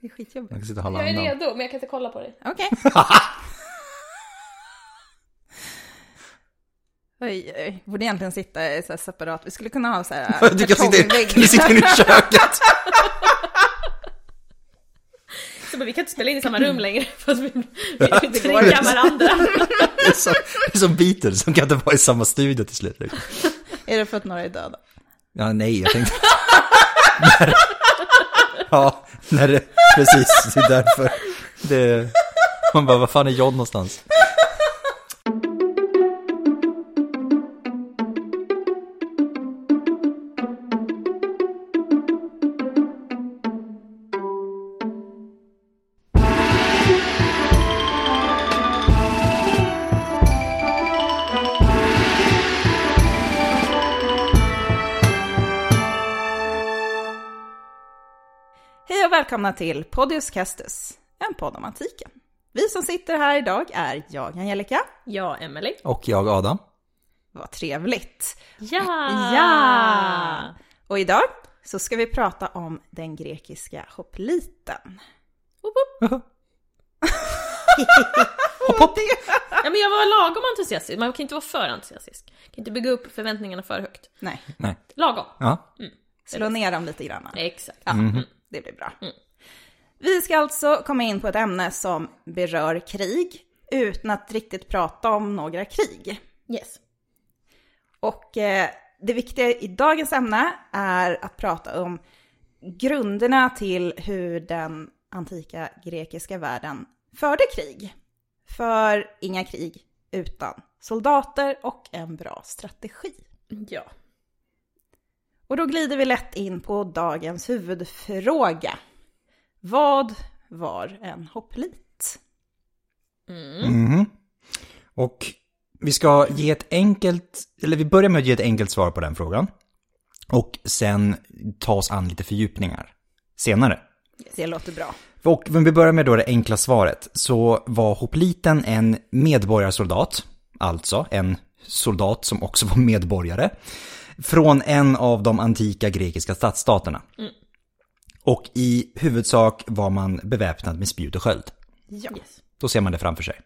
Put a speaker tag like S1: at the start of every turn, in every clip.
S1: Det är skitjobbigt.
S2: Man kan sitta och hålla
S3: Jag är
S2: andan.
S3: redo, men jag kan inte kolla på dig.
S1: Okej. Oj, oj, borde egentligen sitta i så här separat. Vi skulle kunna ha så här
S2: Du kan sitta,
S1: kartongvägg.
S2: kan du sitta inne i köket.
S3: Så bara, vi kan inte spela in i samma rum längre, fast vi, vi
S1: går
S3: triggar varandra.
S2: Det är som, det är som Beatles, som kan inte vara i samma studio till slut. liksom.
S1: Är det för att några är döda?
S2: Ja, nej, jag tänkte... när, ja, när det, precis, det är därför. Det, man bara, vad fan är John någonstans?
S1: Hej och välkomna till Podius Castus, en podd om antiken. Vi som sitter här idag är jag, Angelica.
S3: Ja, Emily.
S2: Och jag, Adam.
S1: Vad trevligt.
S3: Ja!
S1: Ja! Och idag så ska vi prata om den grekiska hopliten.
S3: Woop, woop.
S2: Hopp, hopp.
S3: Ja, men jag var lagom entusiastisk. Man kan inte vara för entusiastisk. Kan inte bygga upp förväntningarna för högt.
S1: Nej,
S2: Nej,
S3: Lagom.
S2: ja.
S1: slå ner dem lite grann.
S3: Exakt.
S1: Ja,
S2: Mm.
S1: det blir bra. Vi ska alltså komma in på ett ämne som berör krig utan att riktigt prata om några krig.
S3: Yes.
S1: Och eh, det viktiga i dagens ämne är att prata om grunderna till hur den antika grekiska världen förde krig. För inga krig utan soldater och en bra strategi.
S3: Ja.
S1: Och då glider vi lätt in på dagens huvudfråga. Vad var en hopplit?
S2: Mhm. Och vi ska ge ett enkelt, eller vi börjar med att ge ett enkelt svar på den frågan. Och sen ta oss an lite fördjupningar senare.
S1: Det låter bra.
S2: Och om vi börjar med då det enkla svaret, så var hopliten en medborgarsoldat, alltså en soldat som också var medborgare, från en av de antika grekiska stadsstaterna. Och i huvudsak var man beväpnad med spjut och sköld.
S1: Ja.
S3: Yes.
S2: Då ser man det framför sig.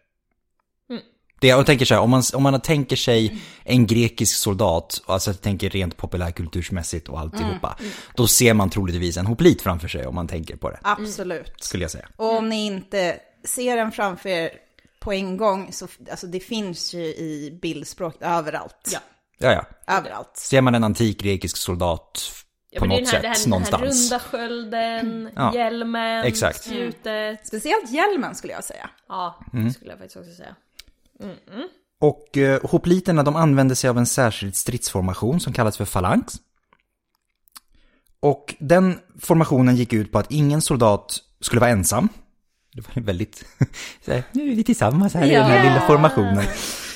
S2: Det, jag tänker så här, om man, om man tänker sig en grekisk soldat, alltså jag tänker rent populärkultursmässigt och alltihopa, då ser man troligtvis en hoplit framför sig om man tänker på det,
S3: Mm.
S1: Absolut.
S2: skulle jag säga.
S1: Och om ni inte ser den framför er på en gång, så alltså, det finns ju i bildspråk överallt.
S3: Ja.
S2: Ja, ja.
S1: Överallt.
S2: Ser man en antik grekisk soldat
S3: Ja,
S2: på
S3: men det är
S2: något
S3: den här,
S2: sätt
S3: det här,
S2: någonstans.
S3: Den här runda skölden,
S2: Ja.
S3: hjälmen,
S2: Exakt.
S3: spjutet.
S1: Speciellt hjälmen skulle jag säga.
S3: Ja,
S2: Mm.
S3: det skulle jag faktiskt också säga.
S2: Och eh, hopliterna de använde sig av en särskild stridsformation som kallas för falanx. Och den formationen gick ut på att ingen soldat skulle vara ensam. Det var väldigt, så här, nu är vi tillsammans här i den här
S3: Ja.
S2: lilla formationen.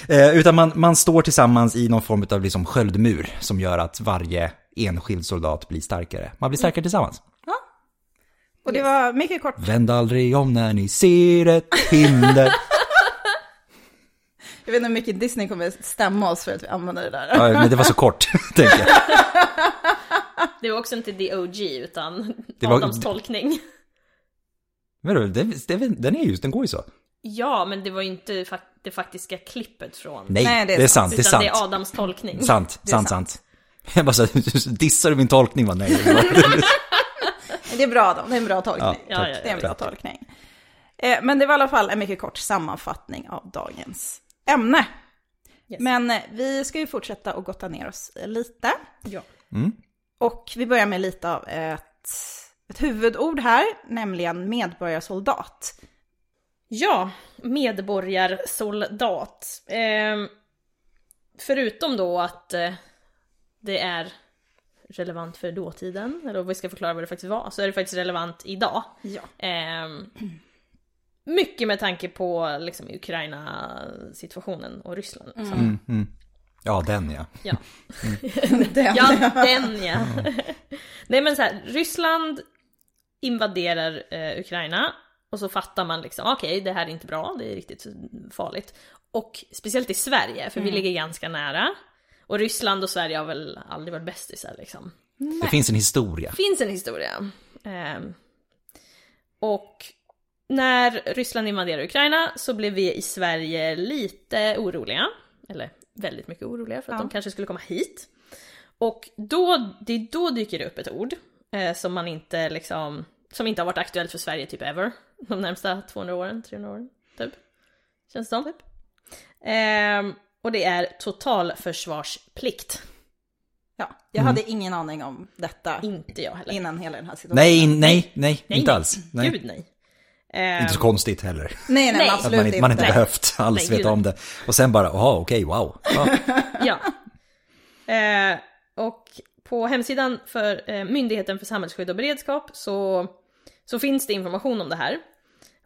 S2: Eh, utan man, man står tillsammans i någon form av liksom sköldmur som gör att varje enskild soldat blir starkare. Man blir
S3: Mm.
S2: starkare tillsammans.
S1: Och det var mycket kort.
S2: Vänd aldrig om när ni ser ett hinder.
S1: Jag vet inte hur mycket Disney kommer stämma oss för att vi använder det där.
S2: Ja, men det var så kort, tänker jag.
S3: Det var också inte The OG, utan
S2: Det var-
S3: Adams tolkning.
S2: Vadå, det, det, den är ju, den går ju så.
S3: Ja, men det var ju inte fak- det faktiska klippet från...
S2: Nej, det, är sant, det är
S3: utan
S2: sant.
S3: det är Adams tolkning.
S2: sant,
S1: Det är
S2: sant, sant. Jag bara så här, dissar du min tolkning? Bara, nej, det var-
S1: Det är bra då, det är en bra tolkning.
S2: Ja,
S3: tack.
S1: det är en bra tolkning. Eh, Men det var i alla fall en mycket kort sammanfattning av dagens ämne.
S3: Yes.
S1: Men eh, vi ska ju fortsätta och gotta ner oss lite.
S3: Ja.
S1: Och vi börjar med lite av ett, ett huvudord här, nämligen medborgarsoldat.
S3: Ja, medborgarsoldat. Ehm, förutom då att eh, det är relevant för dåtiden, eller om vi ska förklara vad det faktiskt var, så är det faktiskt relevant idag.
S1: Ja.
S3: Ehm, mycket med tanke på liksom, Ukraina-situationen och Ryssland. Liksom.
S2: Ja, den ja.
S3: Ja.
S1: Den.
S3: Ja, den ja. Nej men så här, Ryssland invaderar eh, Ukraina och så fattar man liksom, okej det här är inte bra, det är riktigt farligt. Och speciellt i Sverige, för vi ligger ganska nära. Och Ryssland och Sverige har väl aldrig varit bästisar liksom.
S2: Det finns en historia.
S3: Finns en historia. Ehm, Och när Ryssland invaderade Ukraina så blev vi i Sverige lite oroliga. Eller väldigt mycket oroliga för att
S1: Ja.
S3: de kanske skulle komma hit. Och då, det är då dyker det upp ett ord eh, som man inte liksom, som inte har varit aktuellt för Sverige typ ever. De närmsta 200 åren, 300 åren typ. Känns det som. Typ. Ehm, och det är totalförsvarsplikt.
S1: Ja, jag hade ingen aning om detta
S3: Inte jag heller.
S1: innan hela den här situationen.
S2: Nej, nej, nej, inte
S3: nej.
S2: alls. Nej.
S3: Gud nej. Ehm,
S2: Inte så konstigt heller.
S1: nej, nej,
S3: Nej.
S2: Att
S1: absolut
S2: man, inte- man inte
S1: inte.
S2: behövt alls
S3: Nej, gud,
S2: veta om det. Och sen bara, jaha, okej, wow. Ja.
S3: Ja. Eh, och på hemsidan för eh, Myndigheten för samhällsskydd och beredskap så, så finns det information om det här.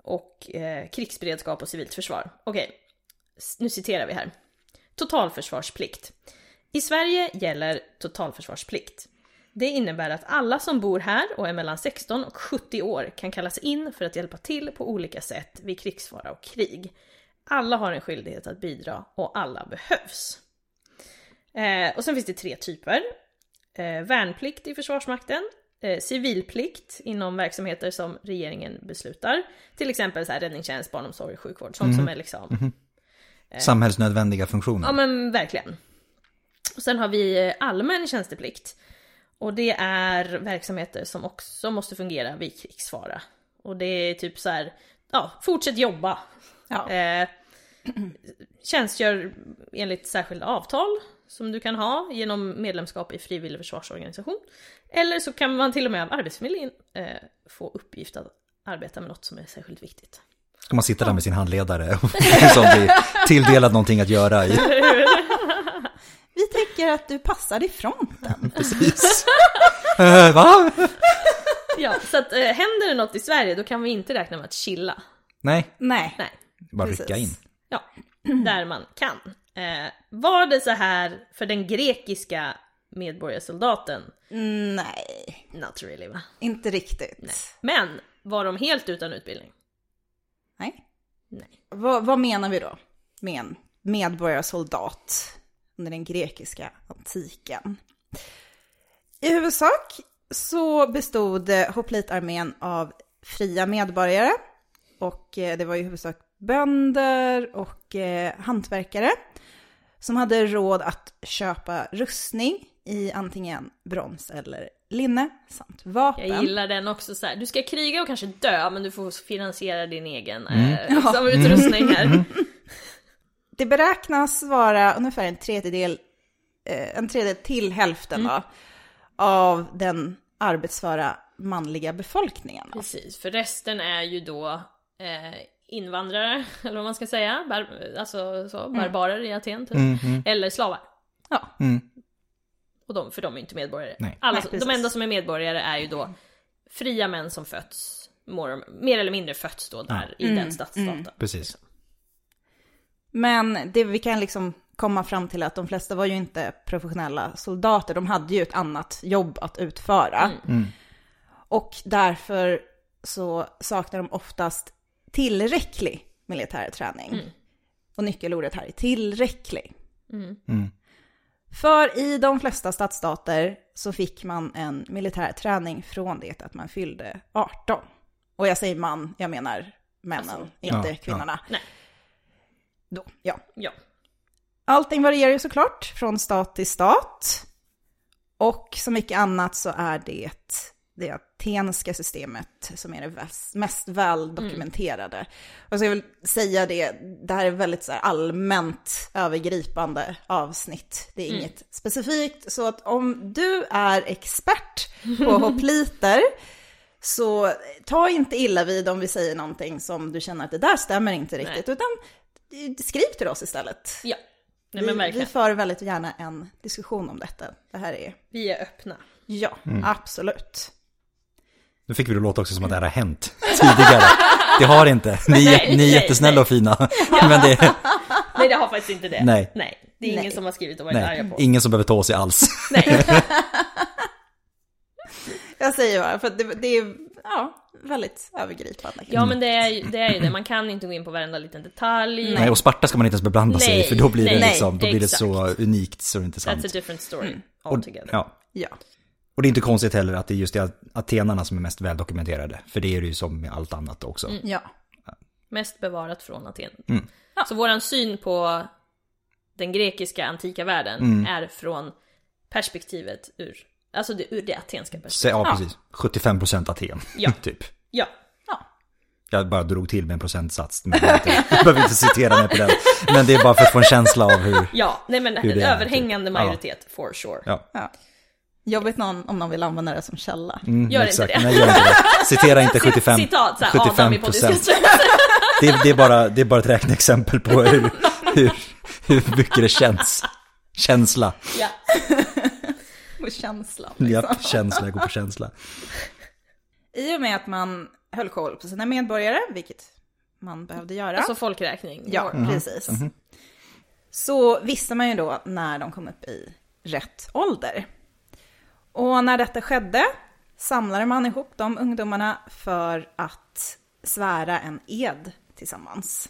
S3: Och eh, krigsberedskap och civilt försvar. Okej, s- nu citerar vi här. Totalförsvarsplikt. I Sverige gäller totalförsvarsplikt. Det innebär att alla som bor här och är mellan 16 och 70 år kan kallas in för att hjälpa till på olika sätt vid krigsfara och krig. Alla har en skyldighet att bidra och alla behövs. Eh, och sen finns det tre typer. Eh, värnplikt i Försvarsmakten, eh, civilplikt inom verksamheter som regeringen beslutar. Till exempel så här, räddningstjänst, barnomsorg, sjukvård, sånt som är liksom
S2: Samhällsnödvändiga funktioner.
S3: Ja men verkligen. Och sen har vi eh, allmän tjänsteplikt. Och det är verksamheter som också måste fungera vid krigsfara. Och det är typ så här, ja, fortsätt jobba.
S1: Ja.
S3: Eh, tjänstgör enligt särskilda avtal som du kan ha genom medlemskap i frivillig försvarsorganisation. Eller så kan man till och med av Arbetsförmedlingen eh, få uppgift att arbeta med något som är särskilt viktigt.
S2: Ska man sitta där med sin handledare som blir tilldelad någonting att göra i.
S1: Vi tycker att du passar i fronten.
S2: Precis. Eh, va?
S3: Ja, så att eh, händer det något i Sverige då kan vi inte räkna med att chilla.
S2: Nej,
S1: Nej.
S3: Nej.
S2: bara
S1: Precis.
S2: rycka in.
S3: Ja, där man kan. Eh, var det så här för den grekiska medborgarsoldaten?
S1: Nej,
S3: Not really va?
S1: inte riktigt. Nej.
S3: Men var de helt utan utbildning? Nej.
S1: Vad, vad menar vi då med en medborgarsoldat under den grekiska antiken? I huvudsak så bestod eh, hoplitarmén av fria medborgare och eh, det var i huvudsak bönder och eh, hantverkare som hade råd att köpa rustning i antingen brons eller linne samt vapen.
S3: Jag gillar den också så här. du ska kriga och kanske dö men du får finansiera din egen eh, liksom, utrustning här.
S1: Det beräknas vara ungefär en tredjedel, eh, en tredjedel till hälften då, av den arbetsföra manliga befolkningen. Då.
S3: Precis, för resten är ju då eh, invandrare, eller vad man ska säga, bar- alltså så, barbarer i Aten typ. Eller slavar.
S1: Ja,
S2: Mm,
S3: Och de, för de är ju inte medborgare.
S2: Nej.
S3: Alla,
S1: Nej,
S3: som-
S1: precis.
S3: de enda som är medborgare är ju då fria män som fötts, more, mer eller mindre fötts då där i den stadsstaten.
S2: Precis.
S1: Men det vi kan liksom komma fram till är att de flesta var ju inte professionella soldater, de hade ju ett annat jobb att utföra. Och därför så saknar de oftast tillräcklig militär träning. Och nyckelordet här är tillräcklig.
S2: Mm.
S1: För i de flesta stadsstater så fick man en militär träning från det att man fyllde 18. Och jag säger man, jag menar männen, inte
S2: Ja, ja.
S1: kvinnorna.
S3: Nej.
S1: Då, ja.
S3: Ja.
S1: Allting varierar ju såklart från stat till stat. Och som mycket annat så är det det atenska systemet som är det väs- mest väldokumenterade. Och så jag vill säga det, det här är väldigt så här allmänt övergripande avsnitt. Det är inget specifikt, så att om du är expert på hopliter så ta inte illa vid om vi säger någonting som du känner att det där stämmer inte riktigt, utan skriv till oss istället.
S3: ja. Nej
S1: Vi,
S3: men
S1: vi
S3: verkligen.
S1: för väldigt gärna en diskussion om detta. Det här är,
S3: Vi är öppna.
S1: ja, absolut.
S2: Nu fick vi det låta också som att det här har hänt tidigare. Det har det inte. Ni, är-
S3: Nej,
S2: ni
S3: nej,
S2: är jättesnälla
S3: nej.
S2: och fina. Men det,
S3: Nej det har faktiskt inte det.
S2: Nej.
S3: Nej. Det är
S1: Nej.
S3: ingen som har skrivit och varit
S2: nej,
S3: arga på.
S2: ingen som behöver ta oss i alls.
S3: Nej.
S1: Jag säger bara, för det, det är ja, väldigt övergripande.
S3: Ja men det är, ju, det är ju det, man kan inte gå in på varenda liten detalj.
S2: Nej, och Sparta ska man inte ens beblanda sig i, för då blir det
S3: Nej, nej,
S2: liksom, då blir det
S3: exakt.
S2: så unikt så det är inte sant.
S3: That's a different story
S2: Mm. Och,
S3: altogether.
S2: ja.
S1: Ja.
S2: Och det är inte konstigt heller att det är just det atenarna som är mest väldokumenterade. För det är det ju som med allt annat också.
S3: Mm.
S1: Ja.
S3: Mest bevarat från Aten.
S2: Mm.
S3: Så våran syn på den grekiska antika världen
S2: Mm.
S3: är från perspektivet ur, alltså det, ur det atenska
S2: Så,
S3: perspektivet.
S2: ja, precis. 75% Aten,
S3: Ja.
S2: typ.
S3: Ja.
S2: Jag bara drog till med en procentsats. Men jag behöver inte- jag behöver inte citera mig på den. Men det är bara för att få en känsla av hur...
S3: Ja, nej men
S2: Hur
S3: en
S2: det är,
S3: överhängande
S2: typ.
S3: majoritet, for sure.
S2: Ja.
S1: ja. Jobbigt någon, om någon vill använda det som källa.
S2: Mm,
S3: Gör inte
S2: exakt.
S3: det.
S2: Nej, gör inte det. Citera inte 75,
S3: Citat, såhär, 75%. Adam i
S2: 75
S3: podcast.
S2: procent. Det, är- det, är bara, det är bara ett räkneexempel på hur, hur, hur mycket det känns. Känsla.
S3: ja.
S1: Och känslan.
S2: Japp, känsla. Jag går på känsla.
S1: I och med att man höll koll på sina medborgare, vilket man behövde göra.
S3: Alltså folkräkning.
S1: ja, precis. Så visste man ju då när de kom upp i rätt ålder. Och när detta skedde samlade man ihop de ungdomarna för att svära en ed tillsammans.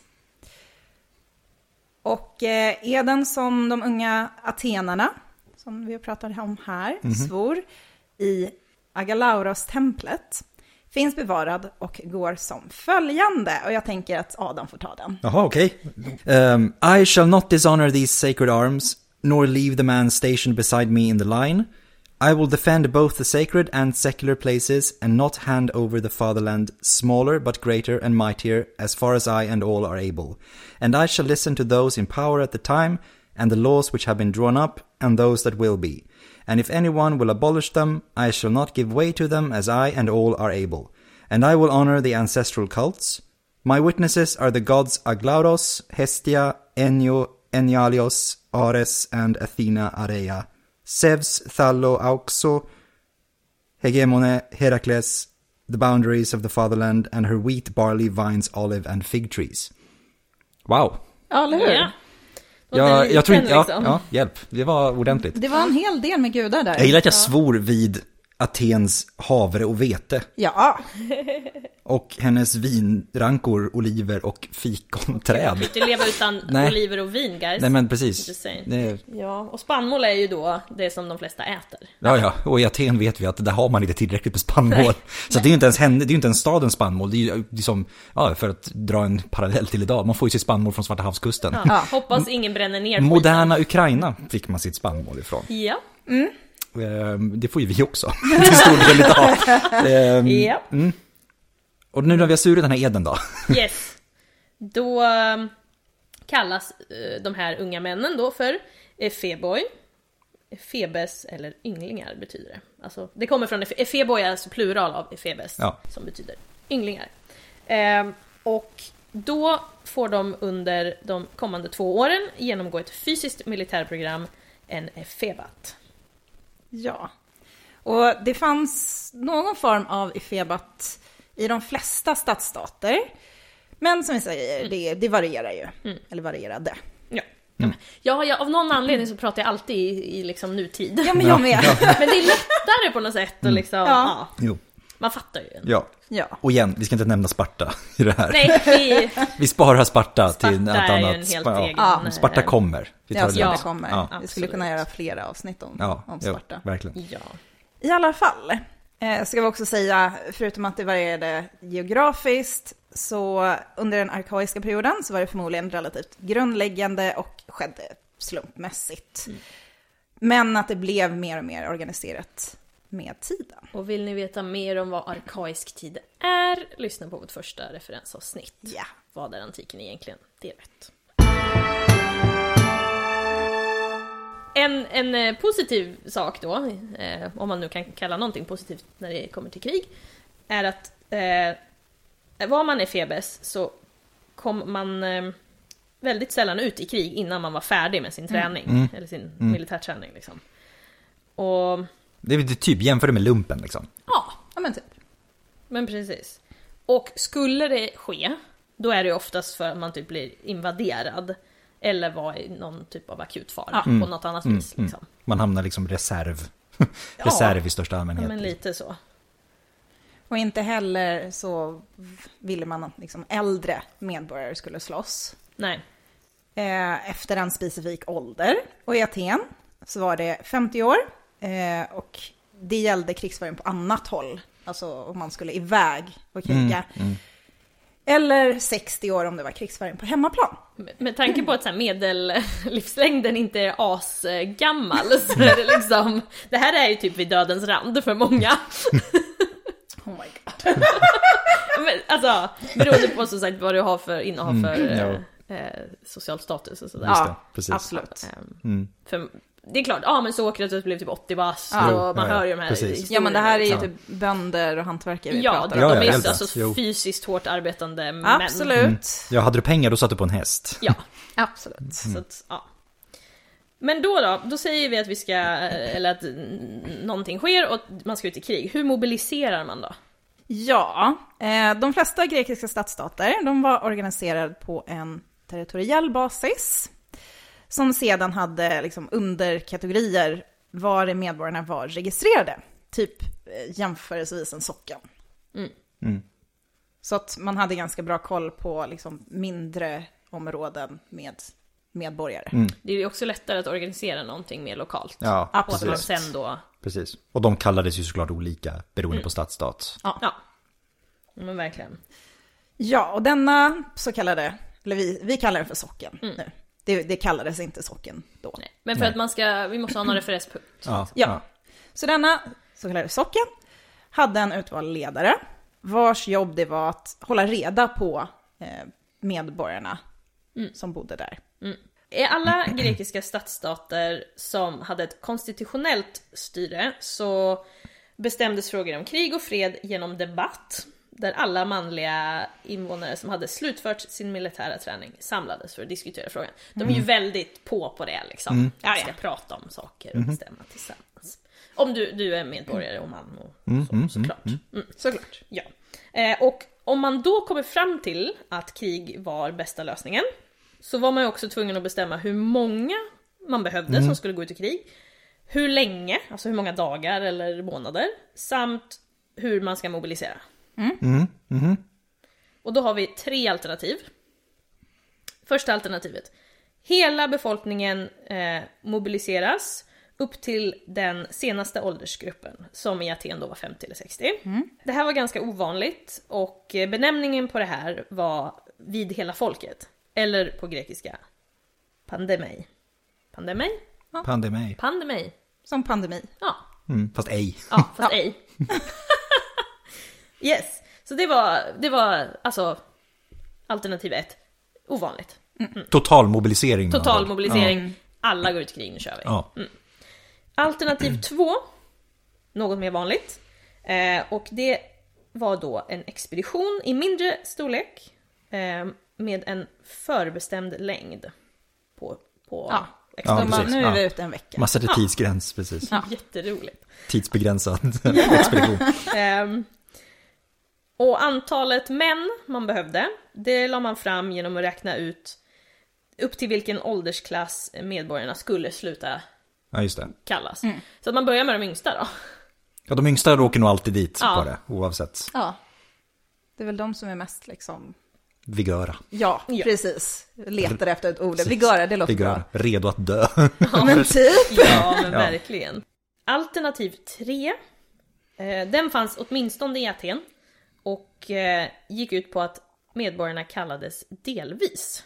S1: Och eh, eden som de unga atenarna, som vi har pratat om här, svor i Agalaurostemplet finns bevarad och går som följande. Och jag tänker att Adam får ta den.
S2: Jaha, okej. Ehm, Oh, I shall not dishonor these sacred arms, nor leave the man stationed beside me in the line. I will defend both the sacred and secular places, and not hand over the fatherland, smaller but greater and mightier, as far as I and all are able. And I shall listen to those in power at the time, and the laws which have been drawn up, and those that will be. And if anyone will abolish them, I shall not give way to them, as I and all are able. And I will honor the ancestral cults, my witnesses are the gods Aglauros, Hestia, Enyo, Enyalios, Ares, and Athena Areia. Zeus, Thallo, Auxo, Hegemone, Heracles, the boundaries of the fatherland, and her wheat, barley, vines, olive, and fig trees. Wow.
S1: Ja, eller
S3: Ja. Och
S2: Jag,
S3: den
S2: jag tror
S3: liten,
S2: inte, ja,
S3: liksom.
S2: ja, hjälp. Det var ordentligt.
S1: Det var en hel del med gudar där.
S2: Jag gillar att jag svor vid Atens havre och vete
S1: Ja,
S2: och hennes vinrankor, oliver och fikonträd.
S3: Vi kan inte leva utan
S2: Nej.
S3: oliver och vin guys.
S2: Nej men precis.
S3: Just saying.
S2: Det är-
S3: Ja, och spannmål är ju då det som de flesta äter.
S2: Ja, ja, och i Aten vet vi att där har man inte tillräckligt med spannmål. Så att det är ju inte ens henne, det är ju inte ens stadens spannmål. Det är ju liksom, ja, för att dra en parallell till idag, man får ju sitt spannmål från Svarta havskusten.
S3: Ja. Hoppas ingen bränner ner skiten.
S2: Moderna Ukraina fick man sitt spannmål ifrån.
S3: Ja.
S2: Ehm, Det får ju vi också, till stor del idag. Ehm,
S3: Ja.
S2: Och nu när vi har surit den här eden då.
S3: Yes. Då eh, kallas eh, de här unga männen då för Efeboi. Efebes eller ynglingar betyder det. Alltså, det kommer från Efe- Efeboi, är alltså plural av Efebes,
S2: Ja.
S3: som betyder ynglingar. Eh, och då får de under de kommande två åren genomgå ett fysiskt militärprogram, en E Efebat.
S1: ja. Och det fanns någon form av ifebat i de flesta stadsstater. Men som vi säger, det, det varierar ju. Eller varierade.
S3: Ja. Mm. Ja, ja, av någon anledning så pratar jag alltid i, i liksom nutid.
S1: Ja, men jag med.
S3: Men det är lättare på något sätt och liksom, ja.
S1: Ja.
S2: Jo,
S3: man fattar ju.
S2: ja.
S1: Ja.
S2: Och igen, vi ska inte nämna Sparta i det här.
S3: Nej, vi,
S2: Vi sparar Sparta, till
S3: Sparta
S2: något
S3: är ju
S2: annat.
S3: en helt
S2: Spa- ja.
S3: egen... eh,
S2: Sparta kommer. Vi tar
S1: Ja,
S2: det
S1: Sparta
S2: där.
S1: alltså kommer.
S2: Ja,
S1: Vi skulle
S3: absolut.
S1: kunna göra flera avsnitt om,
S2: ja,
S1: om
S2: jo,
S1: Sparta.
S2: verkligen.
S3: Ja.
S1: I alla fall, eh, ska vi också säga, förutom att det varierade geografiskt, så under den arkaiska perioden så var det förmodligen relativt grundläggande och skedde slumpmässigt. Men att det blev mer och mer organiserat med tiden.
S3: Och vill ni veta mer om vad arkaisk tid är, lyssna på vårt första referensavsnitt.
S1: Ja.
S3: Vad är antiken egentligen? Det är rätt. En, en eh, positiv sak då, eh, om man nu kan kalla någonting positivt när det kommer till krig, är att eh, var man Efebes så kom man eh, väldigt sällan ut i krig innan man var färdig med sin träning, eller sin militärträning liksom. Och
S2: Det är väl typ jämför det med lumpen liksom.
S3: ja,
S1: Ja men typ.
S3: men precis. Och skulle det ske, då är det ju oftast för att man typ blir invaderad. Eller var i någon typ av akut fara
S2: Mm.
S3: på något annat vis. Liksom.
S2: Man hamnar liksom reserv. reserv i största allmänhet.
S3: Ja, men lite så.
S1: Och inte heller så ville man att liksom äldre medborgare skulle slåss.
S3: Nej.
S1: eh, efter en specifik ålder. Och i Aten så var det 50 år eh, och det gällde krigsföring på annat håll, alltså om man skulle iväg och
S2: Mm,
S1: kriga. Eller 60 år om det var krigsföring på hemmaplan.
S3: Med- Med tanke på att så här medellivslängden inte är asgammal så är det liksom, det här är ju typ vid dödens rand för många.
S1: Oh my god.
S3: Men, alltså, beroende på som sagt vad du har för innehav för
S2: Mm. ja.
S3: eh, eh, social status och sådär.
S2: Just
S1: Ja,
S2: det, precis.
S1: Absolut.
S3: Ehm,
S2: mm.
S3: För, det är klart, ja men Sokrates blev typ 80 bast
S2: Ja.
S3: och man
S2: Jo, ja,
S3: hör ju de här
S2: precis.
S1: Ja men det här är ju
S3: historierna, liksom.
S1: typ bönder och hantverkare vi
S3: Ja,
S1: pratar
S3: de
S1: om.
S2: Ja, ja,
S3: är
S2: helt
S3: ju
S2: rätt.
S3: alltså
S2: Jo.
S3: fysiskt hårt arbetande män.
S1: Absolut.
S2: Ja, hade du pengar då satt du på en häst.
S3: Ja,
S1: Absolut.
S2: Mm.
S3: så att, ja. Men då då, då säger vi att vi ska, eller att n- någonting sker och att man ska ut i krig. Hur mobiliserar man då?
S1: Ja, eh, de flesta grekiska stadsstater de var organiserade på en territoriell basis som sedan hade liksom, underkategorier var medborgarna var registrerade. Typ eh, jämförelsevis en socken. Så att man hade ganska bra koll på liksom, mindre områden med medborgare.
S3: Det är ju också lättare att organisera någonting mer lokalt.
S2: Ja,
S3: Och att man
S1: absolut.
S3: sen då,
S2: precis. Och de kallades ju såklart olika beroende
S3: Mm.
S2: på stadsstat.
S3: ja. ja. Men verkligen.
S1: Ja, och denna så kallade, eller vi, vi kallar den för socken nu. Det, det kallades inte socken då.
S3: Nej. Men för att man ska, vi måste ha någon referenspunkt.
S2: Ja,
S1: Ja. Så denna så kallade socken hade en utvald ledare vars jobb det var att hålla reda på eh, medborgarna som bodde där.
S3: I alla grekiska stadsstater som hade ett konstitutionellt styre så bestämdes frågor om krig och fred genom debatt där alla manliga invånare som hade slutfört sin militära träning samlades för att diskutera frågan. De är ju väldigt på på det liksom. Vi Mm. ska prata om saker och bestämma tillsammans. Om du, du är medborgare och man och så, såklart. Mm.
S1: Såklart.
S3: Ja. Eh, och om man då kommer fram till att krig var bästa lösningen så var man ju också tvungen att bestämma hur många man behövde som skulle gå ut i krig, hur länge, alltså hur många dagar eller månader, samt hur man ska mobilisera. Och då har vi tre alternativ. Första alternativet. Hela befolkningen eh, mobiliseras upp till den senaste åldersgruppen som i Aten då var 50 eller 60. Det här var ganska ovanligt och eh, benämningen på det här var vid hela folket. Eller på grekiska pandemei. Pandemei?
S2: Pandemi.
S3: Pandemei.
S1: Som pandemi.
S3: Ja,
S2: Mm, fast ej.
S3: ja fast ej. yes, så det var, det var alltså alternativ ett. Ovanligt.
S2: Total mobilisering. med andra
S3: Mm. Total
S2: ord.
S3: mobilisering. Mm. Alla går ut i krig, nu kör vi.
S2: Ja. ja.
S3: Alternativ två, något mer vanligt. Eh, och det var då en expedition i mindre storlek eh, med en förbestämd längd på, på
S1: Ja.
S2: Ja,
S1: Så
S3: expeditionen.
S1: bara,
S2: precis.
S1: nu är vi
S2: Ja.
S1: ute en vecka.
S2: Man sätter tidsgräns, precis.
S3: Jätteroligt.
S2: Tidsbegränsad expedition.
S3: Ehm, och antalet män man behövde, det la man fram genom att räkna ut upp till vilken åldersklass medborgarna skulle sluta
S2: Ja, just det.
S3: kallas.
S2: Mm.
S3: Så att man börjar med de yngsta då.
S2: Ja, de yngsta åker nog alltid dit
S3: Ja.
S2: på det, oavsett
S1: Ja. Det är väl de som är mest liksom...
S2: vigöra.
S1: Ja,
S3: Ja.
S1: precis. Letar efter ett ord. Vigöra, det låter
S2: Vigöra, redo att dö.
S1: bra. Men typ.
S3: Ja, men
S2: Ja.
S3: verkligen. Alternativ 3. Den fanns åtminstone i Aten och eh, gick ut på att medborgarna kallades delvis.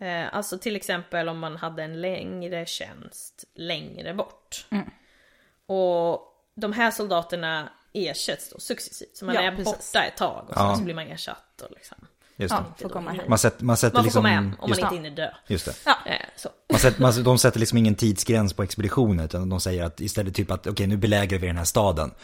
S3: Eh, Alltså till exempel om man hade en längre tjänst längre bort.
S2: Mm.
S3: Och de här soldaterna ersätts då successivt. Så man
S1: Ja,
S3: är
S1: precis.
S3: borta ett tag och sen
S2: Ja.
S3: så blir man ersatt. Och liksom.
S2: Just
S1: Ja,
S2: det.
S1: får komma hem.
S2: Man sätter, man sätter
S3: Man får
S2: liksom...
S3: komma hem om man
S2: just,
S3: inte
S1: det.
S3: hinner dö.
S2: just det.
S3: Eh, Så.
S2: Man sätter, man, de sätter liksom ingen tidsgräns på expeditionen utan de säger att istället typ att okej nu belägrar vi den här staden.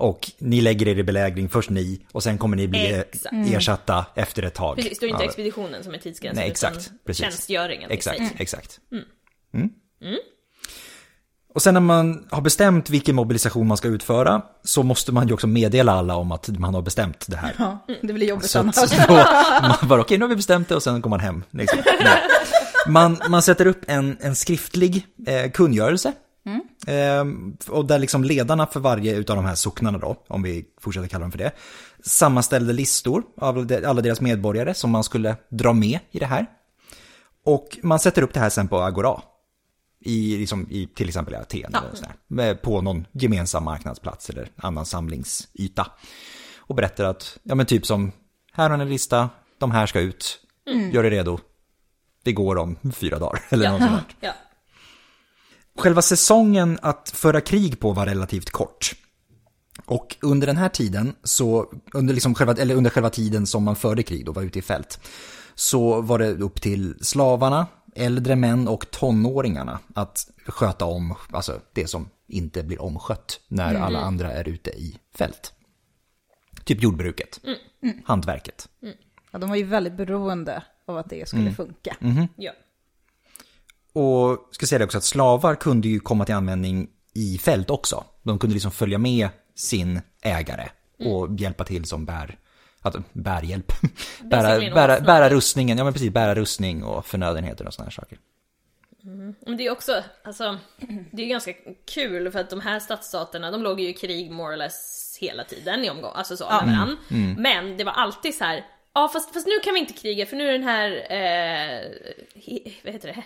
S2: Och ni lägger er i belägring, först ni, och sen kommer ni bli
S3: Exakt. Mm.
S2: ersatta efter ett tag.
S3: Precis, det är inte
S2: Ja,
S3: expeditionen som är tidsgränsen
S2: Nej, exakt.
S3: utan
S2: Precis.
S3: tjänstgöringen liksom.
S2: Exakt,
S3: i sig.
S2: exakt. Mm. Och sen när man har bestämt vilken mobilisation man ska utföra så måste man ju också meddela alla om att man har bestämt det här.
S1: Ja, Mm. det blir jobbigt
S2: Så, att,
S1: annars.
S2: så då, man bara, okej nu har vi bestämt det och sen går man hem. Liksom. Nej. Man, man sätter upp en, en skriftlig eh, kungörelse. Eh, och där liksom ledarna för varje utav de här socknarna då, om vi fortsätter kalla dem för det, sammanställde listor av de- alla deras medborgare som man skulle dra med i det här. Och man sätter upp det här sen på Agora. I, liksom, i till exempel i Aten
S3: Ja.
S2: eller sådär, med- på någon gemensam marknadsplats eller annan samlingsyta. Och berättar att, ja men typ som, här har ni en lista, de här ska ut, gör er redo. Det går om fyra dagar eller något sånt. där.
S3: Mm. Ja.
S2: Själva säsongen att föra krig på var relativt kort. Och under den här tiden, så, under, liksom själva, eller under själva tiden som man förde krig då, var ute i fält, så var det upp till slavarna, äldre män och tonåringarna att sköta om, alltså det som inte blir omskött när alla andra är ute i fält. Typ jordbruket, hantverket.
S1: Ja, de var ju väldigt beroende av att det
S2: Mm.
S1: skulle funka.
S2: Mm-hmm.
S3: ja.
S2: Och ska säga det också att slavar kunde ju komma till användning i fält också. De kunde liksom följa med sin ägare och
S3: Mm.
S2: hjälpa till som bär, att, bärhjälp.
S3: Basically
S2: bära,
S3: en
S2: bära,
S3: åsna.
S2: bära rustningen, ja men precis, bära rustning och förnödenheter och sådana här saker.
S3: Men det är också, alltså, det är ju ganska kul för att de här stadsstaterna, de låg ju i krig more or less hela tiden i omgång, alltså så, med
S2: Mm.
S3: varandra. Men det var alltid så här, ja fast, fast nu kan vi inte kriga för nu är den här, eh, he, vad heter det?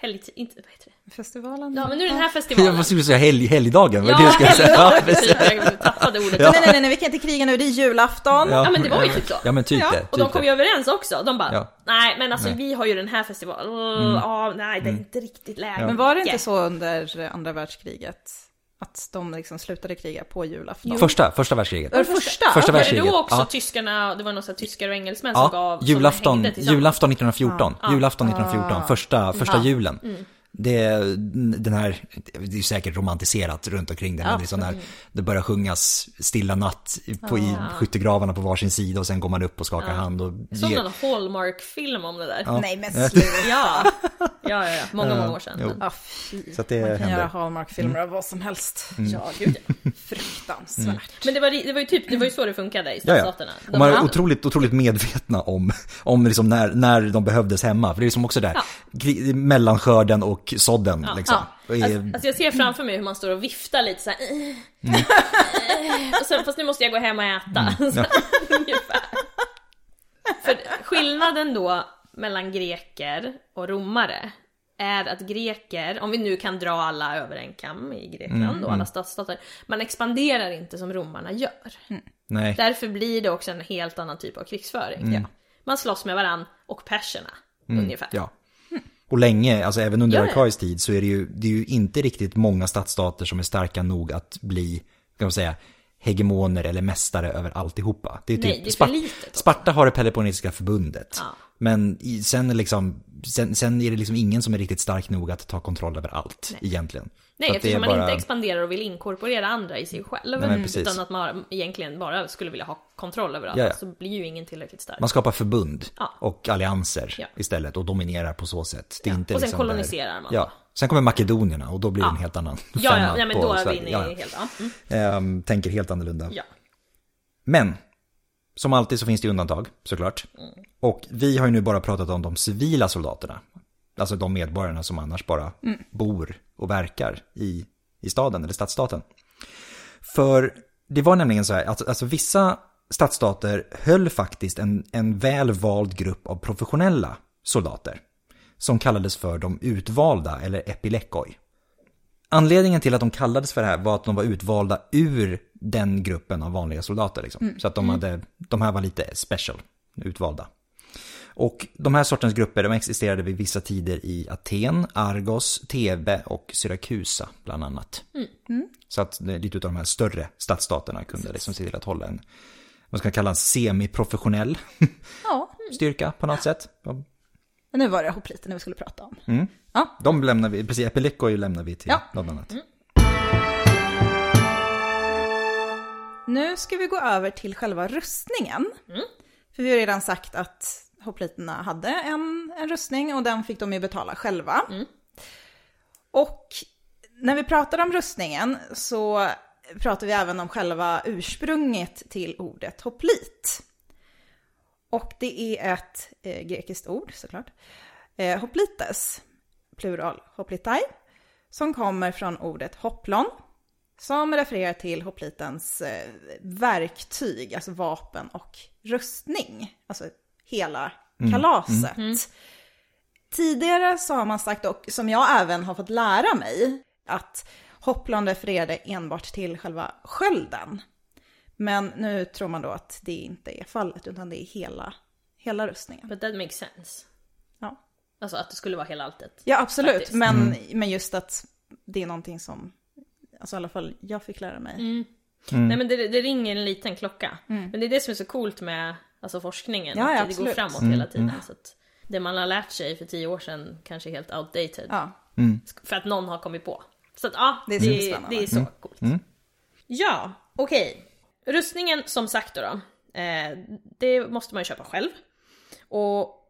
S3: Helgtid, inte, vad heter det?
S1: Festivalen?
S3: Ja men nu är den här
S2: Jag
S3: festivalen.
S2: måste ju säga helg, helgdagen, vad är det jag skulle säga.
S3: helgdag, precis, jag tappade ordet. Ja.
S1: Nej, nej, nej, nej, vi kan inte kriga nu, det är julafton.
S3: Ja, men det var ju typ så.
S2: Ja men typ
S1: Ja,
S2: det.
S3: Och
S2: typ
S3: de kom
S2: det.
S3: ju överens också, de bara
S2: Ja.
S3: nej men alltså
S2: Nej. Mm.
S3: vi har ju den här festivalen, ja nej det är inte riktigt läge.
S1: Men var det inte så under andra världskriget? Att de liksom slutade kriga på julafton?
S2: Första, första världskriget.
S1: Var det första?
S2: Första
S3: Var det
S2: världskriget.
S3: då också
S2: ja.
S3: tyskarna, det var någon sån här tyskar och engelsmän som
S2: Ja,
S3: gav, som
S2: julafton,
S3: hängde tillsammans? Ah. Mm.
S2: julafton 1914. Julafton 1914, första, första julen. Det, den här, det är ju säkert romantiserat runt omkring det, men det är sån där, det börjar sjungas Stilla natt på, i skyttegravarna på varsin sida och sen går man upp och skakar hand och
S3: Ah. Som
S2: ger...
S3: någon Hallmark-film om det där. Ja,
S1: Nej men sluta.
S3: ja, ja, ja. många, många år sedan.
S2: Jo.
S1: Ah, fy.
S2: Så att det Mm.
S1: Man kan
S2: händer.
S1: göra Hallmark-filmer av vad som helst. Ja, gud ja.
S2: Mm.
S1: Fruktansvärt.
S3: Men det var, det var ju typ, det var ju så det funkade i
S2: Ja, ja.
S3: stadsstaterna. De
S2: Och man är
S3: hade-
S2: otroligt, otroligt medvetna om, om liksom när, när de behövdes hemma. För det är som också där, kri- mellanskörden och sådden. liksom.
S3: Ja.
S2: Och är-
S3: Alltså, alltså jag ser framför mig hur man står och viftar lite såhär.
S2: Mm.
S3: Och sen, fast nu måste jag gå hem och äta. Så, ungefär. För skillnaden då mellan greker och romare är att greker, om vi nu kan dra alla över en kam i Grekland
S2: Mm,
S3: och alla stadsstater, man expanderar inte som romarna gör.
S2: nej.
S3: Därför blir det också en helt annan typ av krigsföring. Man slåss med varann och perserna ungefär.
S2: Mm. Ja. Och länge, alltså även under
S3: Ja, ja.
S2: Arkais tid, så är det, ju, det är ju inte riktigt många stadsstater som är starka nog att bli, kan man säga, hegemoner eller mästare över alltihopa. Det är typ
S3: Nej, det är för litet också.
S2: Sparta har det Peloponnesiska förbundet. Men i, sen, är liksom, sen, sen är det liksom ingen som är riktigt stark nog att ta kontroll över allt egentligen.
S3: Nej,
S2: Så att det
S3: eftersom
S2: är
S3: man inte expanderar och vill inkorporera andra i sig själv.
S2: Nej, men precis.
S3: utan att man egentligen bara skulle vilja ha kontroll över allt.
S2: Ja, ja.
S3: Så blir ju ingen tillräckligt stark.
S2: Man skapar förbund
S3: Ja.
S2: och allianser
S3: Ja.
S2: istället och dominerar på så sätt. Det är
S3: Ja,
S2: inte
S3: och sen
S2: liksom där-
S3: koloniserar man.
S2: Ja. Sen kommer makedonierna och då blir det
S3: Ja.
S2: en helt annan
S3: ja,
S2: femma
S3: ja, ja, men
S2: på
S3: då är vi
S2: Sverige.
S3: inne i
S2: Ja, ja.
S3: helt... Ja. Mm,
S2: Ehm, tänker helt annorlunda.
S3: ja.
S2: Men, som alltid så finns det ju undantag såklart. Och vi har ju nu bara pratat om de civila soldaterna. Alltså de medborgarna som annars bara bor och verkar i, i staden eller stadsstaten. För det var nämligen så här, alltså, alltså vissa stadsstater höll faktiskt en, en väl vald grupp av professionella soldater. Som kallades för de utvalda eller epilekoi. Anledningen till att de kallades för det här var att de var utvalda ur den gruppen av vanliga soldater. Liksom.
S1: Mm.
S2: Så att de, hade, de här var lite special, utvalda. Och de här sortens grupper de existerade vid vissa tider i Aten, Argos, Thebe och Syrakusa bland annat.
S1: Mm.
S2: Så att det- lite av de här större stadsstaterna kunde liksom se till att hålla en, vad ska man kalla en semiprofessionell
S1: Ja,
S2: styrka på något sätt. De,
S1: men nu var det hopliten vi skulle prata om.
S2: de lämnar vi, precis, Epilekoi lämnar vi till
S1: Ja. Mm.
S2: något annat.
S1: Nu ska vi gå över till själva rustningen. För vi har redan sagt att hopliterna hade en, en rustning och den fick de ju betala själva. Och när vi pratar om rustningen så pratar vi även om själva ursprunget till ordet hoplit. Och det är ett eh, grekiskt ord såklart. Eh, hoplites, plural hoplitai, som kommer från ordet hoplon som refererar till hoplitens eh, verktyg, alltså vapen och rustning. Alltså hela kalaset. Tidigare så har man sagt, och som jag även har fått lära mig, att Hoppland refererade enbart till själva skölden. Men nu tror man då att det inte är fallet, utan det är hela, hela rustningen.
S3: But that makes sense.
S1: Ja.
S3: Alltså att det skulle vara hela alltet.
S1: Ja, absolut.
S3: Faktiskt.
S1: Men, men just att det är någonting som, alltså i alla fall jag fick lära mig.
S3: Nej men det, det ringer en liten klocka. Men det är det som är så coolt med alltså, forskningen.
S1: Mm. Ja,
S3: att
S1: ja,
S3: det går
S1: absolut.
S3: framåt hela tiden. Så att det man har lärt sig för tio år sedan kanske är helt outdated.
S1: Ja,
S3: För att någon har kommit på. Så att ja,
S1: Det
S3: det
S1: är
S3: är,
S1: så
S3: det,
S1: spännande.
S3: är så coolt. Ja, okej. Rustningen som sagt då, då eh, det måste man ju köpa själv. Och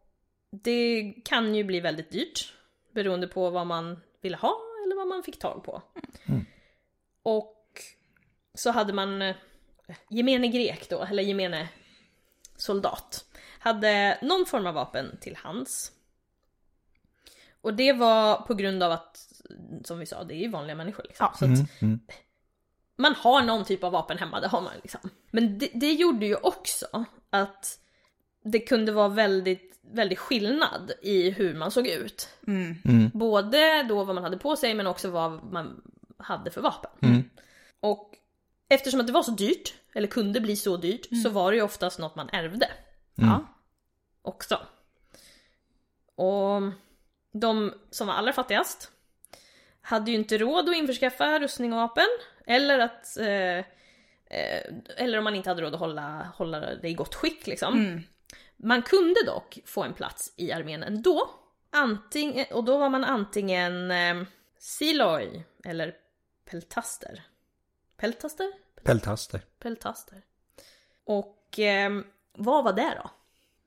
S3: det kan ju bli väldigt dyrt. Beroende på vad man ville ha eller vad man fick tag på. Och så hade man eh, gemene grek då, eller gemene soldat. Hade någon form av vapen till hands. Och det var på grund av att, som vi sa, det är ju vanliga människor. Liksom.
S1: Ja.
S3: Så
S2: Mm.
S3: att man har någon typ av vapen hemma, det har man liksom. Men det, det gjorde ju också att det kunde vara väldigt, väldigt skillnad i hur man såg ut. Både då vad man hade på sig men också vad man hade för vapen. Och eftersom att det var så dyrt, eller kunde bli så dyrt, så var det ju oftast något man ärvde
S1: ja.
S3: också. Och de som var allra fattigast hade ju inte råd att införskaffa rustning och vapen. Eller att... Eh, eh, eller om man inte hade råd att hålla, hålla det i gott skick liksom.
S1: Mm.
S3: Man kunde dock få en plats i armén ändå. Anting, och då var man antingen eh, siloj eller peltaster. Peltaster?
S2: Peltaster.
S3: Peltaster. Och ehm, vad var det då?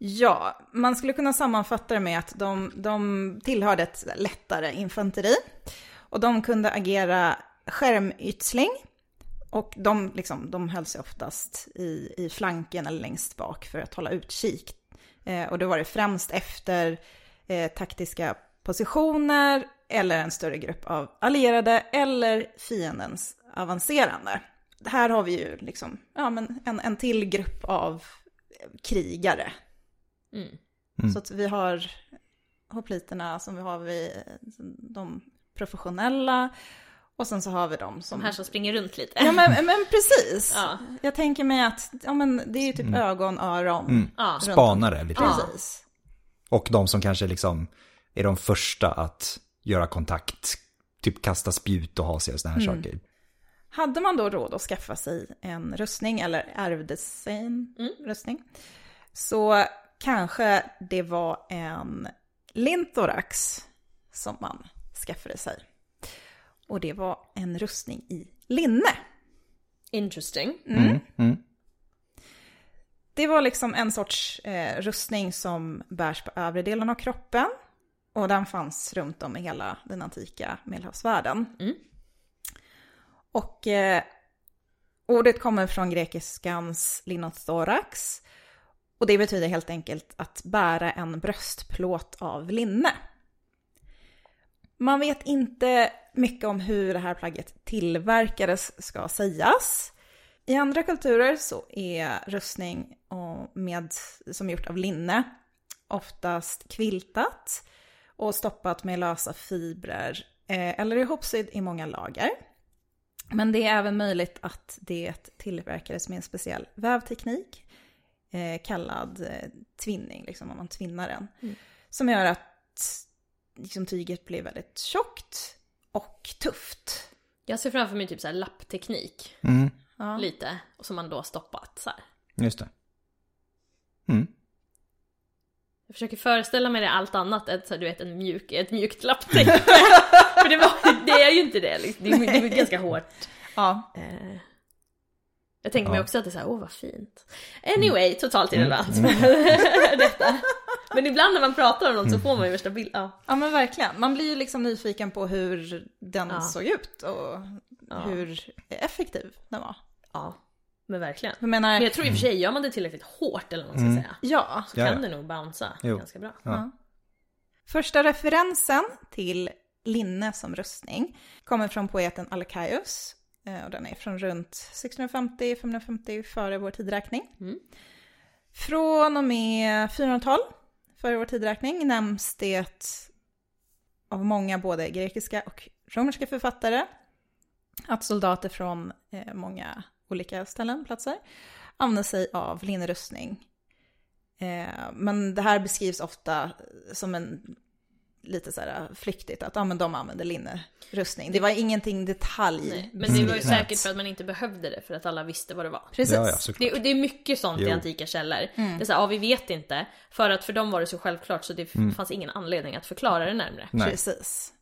S1: Ja, man skulle kunna sammanfatta det med att de, de tillhörde ett lättare infanteri och de kunde agera skärmytsling och de, liksom, de höll sig oftast i, i flanken eller längst bak för att hålla utkik. Eh, och då var det främst efter eh, taktiska positioner eller en större grupp av allierade eller fiendens avancerande. Här har vi ju liksom, ja, men en, en till grupp av krigare så att vi har hopliterna som vi har vid de professionella och sen så har vi de som...
S3: De här som springer runt lite.
S1: Ja men, men precis!
S3: Ja.
S1: Jag tänker mig att ja, men det är ju typ ögon, öron.
S3: Ja.
S1: runt
S2: Spanare lite.
S1: om. Precis.
S2: Och de som kanske liksom är de första att göra kontakt, typ kasta spjut och ha sig och sådana här saker.
S1: Hade man då råd att skaffa sig en rustning eller ärvde sig en rustning så kanske det var en lintorax som man skaffade sig. Och det var en rustning i linne.
S3: Interesting.
S2: Mm,
S1: Det var liksom en sorts eh, rustning som bärs på övre delen av kroppen. Och den fanns runt om i hela den antika medelhavsvärlden. Och eh, ordet kommer från grekiskans linothorax. Och det betyder helt enkelt att bära en bröstplåt av linne. Man vet inte mycket om hur det här plagget tillverkades ska sägas. I andra kulturer så är rustning och med, som är gjort av linne oftast kviltat och stoppat med lösa fibrer eh, eller ihopsydd i många lager. Men det är även möjligt att det tillverkades med en speciell vävteknik eh, kallad eh, tvinning, liksom om man tvinnar den, som gör att liksom, tyget blir väldigt tjockt och tufft.
S3: Jag ser framför mig typ så här lappteknik.
S1: Ja.
S3: Lite. Och som man då har stoppat så här.
S2: mm. Just det. Mm.
S3: Jag försöker föreställa mig det allt annat än så här, du vet en mjuk, ett mjukt lapptäcke. För det, var, det är ju inte det. liksom. Det är, det är ganska hårt.
S1: Ja.
S3: Eh, Jag tänker
S2: Ja.
S3: mig
S2: Mm.
S3: också att det är såhär, åh vad fint. Anyway, totalt irrelevant. Detta. Men ibland när man pratar om något
S2: Mm.
S3: så får man ju värsta bilden. Ja.
S1: Ja men verkligen. Man blir ju liksom nyfiken på hur den
S3: Ja.
S1: såg ut och
S3: Ja.
S1: hur effektiv den var.
S3: ja, men verkligen.
S1: Jag menar,
S3: Men jag tror i och för sig, gör man det tillräckligt hårt eller vad man ska säga,
S1: ja.
S3: så
S2: Mm. Ja,
S3: kan
S2: ja.
S3: det nog bouncea
S2: Jo.
S3: ganska bra.
S1: Första referensen till linne som rustning kommer från poeten Alkaios eh, och den är från runt 650-550 före vår tidräkning. Från och med 400-tal för vår tidräkning nämns det av många både grekiska och romerska författare att soldater från eh, många olika ställen, platser, använder sig av linnerustning. Eh, men det här beskrivs ofta som en lite så här flyktigt, att ja, men de använder linnerustning. Det var ingenting detalj.
S3: Nej, men det var ju
S2: Mm.
S3: säkert för att man inte behövde det för att alla visste vad det var.
S1: Precis.
S2: Ja, ja, såklart.
S3: Det, och det är mycket sånt i
S2: Jo.
S3: antika källor. Det är så här, ja vi vet inte. För att för dem var det så självklart så det f- fanns ingen anledning att förklara det närmre.
S1: Mm.
S2: Nej.
S1: Precis.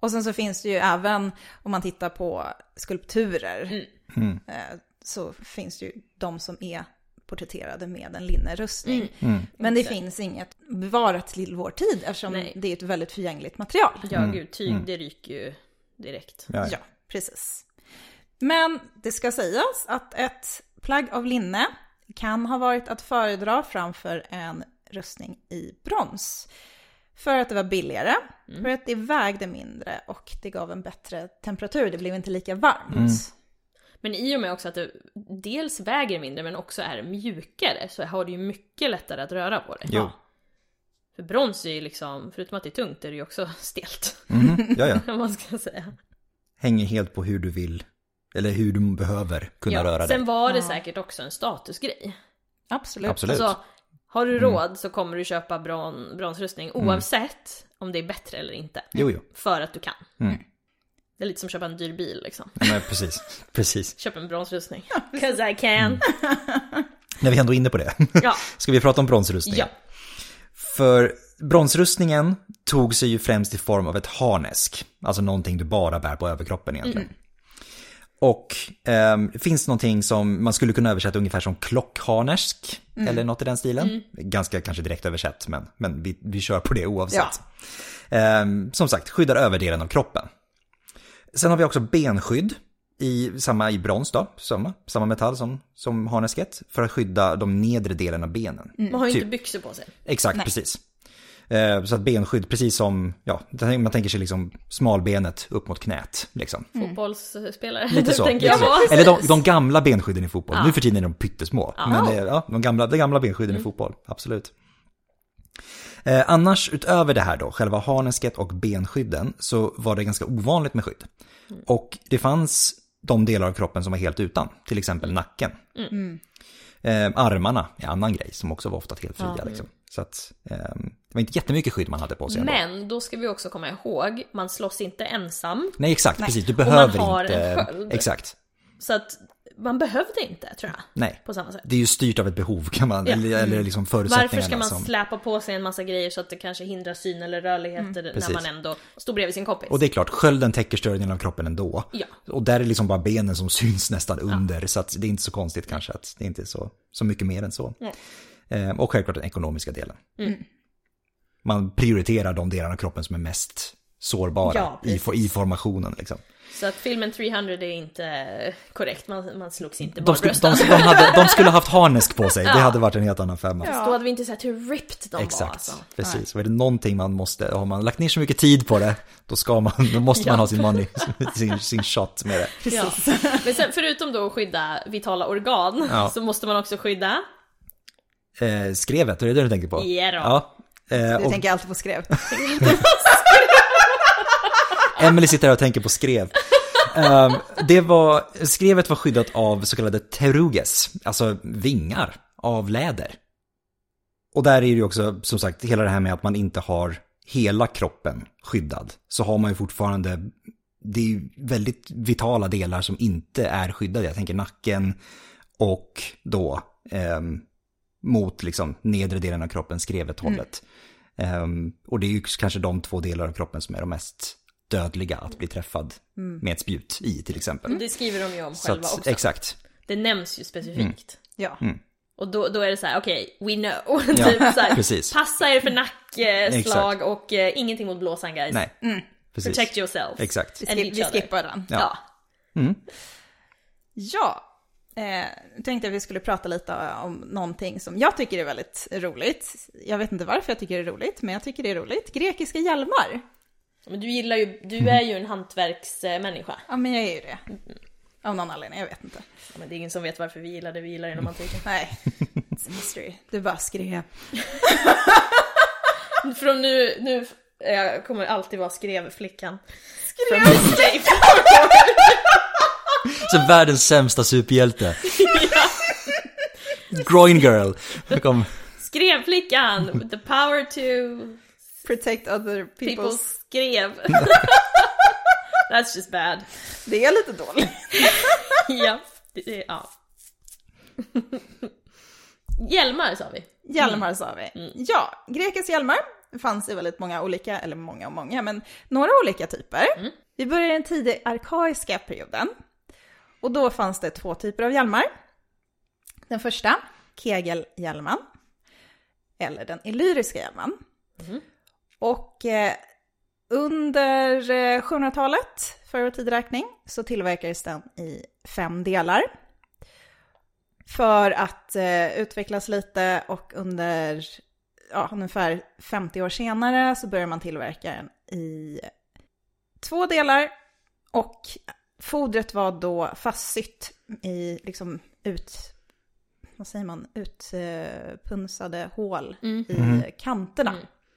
S1: Och sen så finns det ju även, om man tittar på skulpturer,
S2: Mm.
S1: eh, så finns det ju de som är porträtterade med en linnerustning.
S2: Mm.
S1: Men det finns inget bevarat till vår tid eftersom
S3: Nej.
S1: det är ett väldigt förgängligt material.
S3: Ja gud, tyg det ryker ju direkt.
S2: Ja, ja.
S1: Ja, precis. Men det ska sägas att ett plagg av linne kan ha varit att föredra framför en rustning i brons. För att det var billigare, för att det vägde mindre och det gav en bättre temperatur, det blev inte lika varmt.
S3: Men i och med också att det dels väger mindre men också är mjukare så har du ju mycket lättare att röra på det.
S2: Jo.
S3: För brons är ju liksom, förutom att det är tungt är det ju också stelt.
S2: Mhm. ja, ja.
S3: Om man ska säga.
S2: Hänger helt på hur du vill, eller hur du behöver kunna röra dig.
S3: Sen var det säkert också en statusgrej.
S1: Absolut.
S2: Absolut. Mm.
S3: Alltså, har du råd så kommer du köpa bron, bronsrustning oavsett om det är bättre eller inte.
S2: Jo, jo.
S3: För att du kan.
S2: Mm.
S3: Det är lite som att köpa en dyr bil liksom.
S2: Ja, Men precis, precis.
S3: Köp en bronsrustning. 'Cause I
S2: Mm.
S3: can.
S2: När vi ändå är inne på det.
S3: Ja.
S2: Ska vi prata om bronsrustningen?
S3: ja.
S2: För bronsrustningen tog sig ju främst i form av ett harnesk. Alltså någonting du bara bär på överkroppen egentligen. Och ehm, det finns någonting som man skulle kunna översätta ungefär som klockharnesk. Eller något i den stilen. Ganska kanske direkt översatt men, men vi, vi kör på det oavsett. Ehm, som sagt, skyddar överdelen av kroppen. Sen har vi också benskydd. I, samma i brons då, samma, samma metall som, som harnesket. För att skydda de nedre delen av benen.
S3: Man har ju
S2: Typ.
S3: inte byxor på sig.
S2: Exakt, precis. Eh, Så att benskydd, precis som, ja, man tänker sig liksom smalbenet upp mot knät. Liksom.
S3: Fotbollsspelare.
S2: Lite så. Lite
S3: tänker jag
S2: så.
S3: på.
S2: Eller de, de gamla benskydden i fotboll. Nu för tiden är de pyttesmå. Men det, ja, de gamla, de gamla benskydden
S3: Mm.
S2: i fotboll, absolut. Eh, annars utöver det här då, själva harnesket och benskydden, så var det ganska ovanligt med skydd.
S3: Mm.
S2: Och det fanns de delar av kroppen som var helt utan, till
S3: Mm.
S2: exempel nacken. Eh, armarna är en annan grej som också var ofta helt fria. Liksom. Så att, ehm, det var inte jättemycket skydd man hade på sig. ändå.
S3: Men då ska vi också komma ihåg, man slåss inte ensam.
S2: Nej, exakt, precis. Du behöver
S3: man har
S2: inte...
S3: en sköld.
S2: Exakt.
S3: Så att man behövde inte tror jag.
S2: Nej.
S3: På samma sätt.
S2: Det är ju styrt av ett behov kan man,
S3: Ja. Mm.
S2: eller, eller liksom förutsättningarna
S3: Varför ska man
S2: som...
S3: släpa på sig en massa grejer så att det kanske hindrar syn eller rörligheter när
S2: Mm. Precis.
S3: man ändå står bredvid sin kompis?
S2: Och det är klart, skölden täcker större delen av kroppen ändå.
S3: Ja.
S2: Och där är liksom bara benen som syns nästan under, så att det är inte så konstigt kanske att det inte är så, så mycket mer än så.
S3: Nej.
S2: Ehm, och självklart den ekonomiska delen.
S3: Mm.
S2: Man prioriterar de delar av kroppen som är mest sårbara
S3: Ja,
S2: i, for- i formationen. Liksom.
S3: Så att filmen 300 är inte eh, korrekt, man, man slogs inte
S2: De, skulle, de,
S3: barbröstan.
S2: de, hade, de skulle haft harnesk på sig, det hade varit en helt annan femma.
S3: Då hade vi inte sett hur ripped de var
S2: Exakt,
S3: alltså.
S2: precis. Och är det någonting man måste, har man lagt ner så mycket tid på det, då ska man, då måste man ha sin money, sin, sin shot med det.
S3: Ja. Men sen förutom då att skydda vitala organ
S2: Ja.
S3: så måste man också skydda
S2: Eh, skrevet, är det det du tänker på?
S3: Ja då.
S2: Ja. Eh,
S1: Du
S2: och
S1: tänker alltid på skrev.
S2: Emily sitter här och tänker på skrev. Ehm, det var, skrevet var skyddat av så kallade teruges, alltså vingar av läder. Och där är det ju också, som sagt, hela det här med att man inte har hela kroppen skyddad. Så har man ju fortfarande, det är ju väldigt vitala delar som inte är skyddade. Jag tänker nacken och då ehm, mot liksom nedre delen av kroppen, skrevet
S3: Mm.
S2: hållet. Ehm, och det är ju kanske de två delar av kroppen som är de mest dödliga att bli träffad med ett spjut i till exempel.
S3: Det skriver de ju om
S2: Så
S3: Mm. själva
S2: att, Mm.
S3: också.
S2: exakt.
S3: Det nämns ju specifikt.
S1: Ja.
S3: Och då, då är det så här: okej, we know.
S2: Ja,
S3: typ så här,
S2: precis.
S3: Passa er för
S2: Exakt.
S3: nackslag och eh, ingenting mot blåsan guys.
S2: Nej, precis.
S3: Mm. Protect yourself.
S2: Exakt.
S1: Vi,
S3: And
S1: skip-
S3: each
S1: vi
S3: other.
S1: skippar den.
S3: Ja.
S1: Ja, eh, jag tänkte att vi skulle prata lite om någonting som jag tycker är väldigt roligt. Jag vet inte varför jag tycker det är roligt, men jag tycker det är roligt. Grekiska hjälmar.
S3: Men du gillar ju, du är ju en hantverksmänniska.
S1: Ja, men jag är ju det. Av någon anledning, jag vet inte.
S3: Ja, Men det är ingen som vet varför vi gillar
S2: Mm.
S3: det vi gillar inom antiken.
S1: Nej, it's a mystery. Du bara skrev.
S3: Från nu, nu eh, jag kommer alltid vara skrevflickan.
S1: Skrev-
S3: Från Escape.
S2: Så världens sämsta superhjälte. Groin girl. Kom.
S3: Skrevflickan! with The power to
S1: Protect other
S3: people
S1: people's...
S3: skrev. That's just bad.
S1: Det är lite dåligt.
S3: ja, det är, ja. Hjälmar sa vi.
S1: Hjälmar sa vi. Ja, grekisk hjälmar fanns i väldigt många olika, eller många och många, men några olika typer. Vi börjar i den tidig arkaiska perioden. Och då fanns det två typer av hjälmar. Den första, kegelhjälmen, eller den illyriska hjälmen. Och eh, under eh, 700-talet, för vår tideräkning, så tillverkades den i fem delar för att eh, utvecklas lite och under ja, ungefär 50 år senare så börjar man tillverka den i två delar och fodret var då fastsytt i liksom ut, vad säger man, utpunsade hål
S3: Mm.
S1: i kanterna.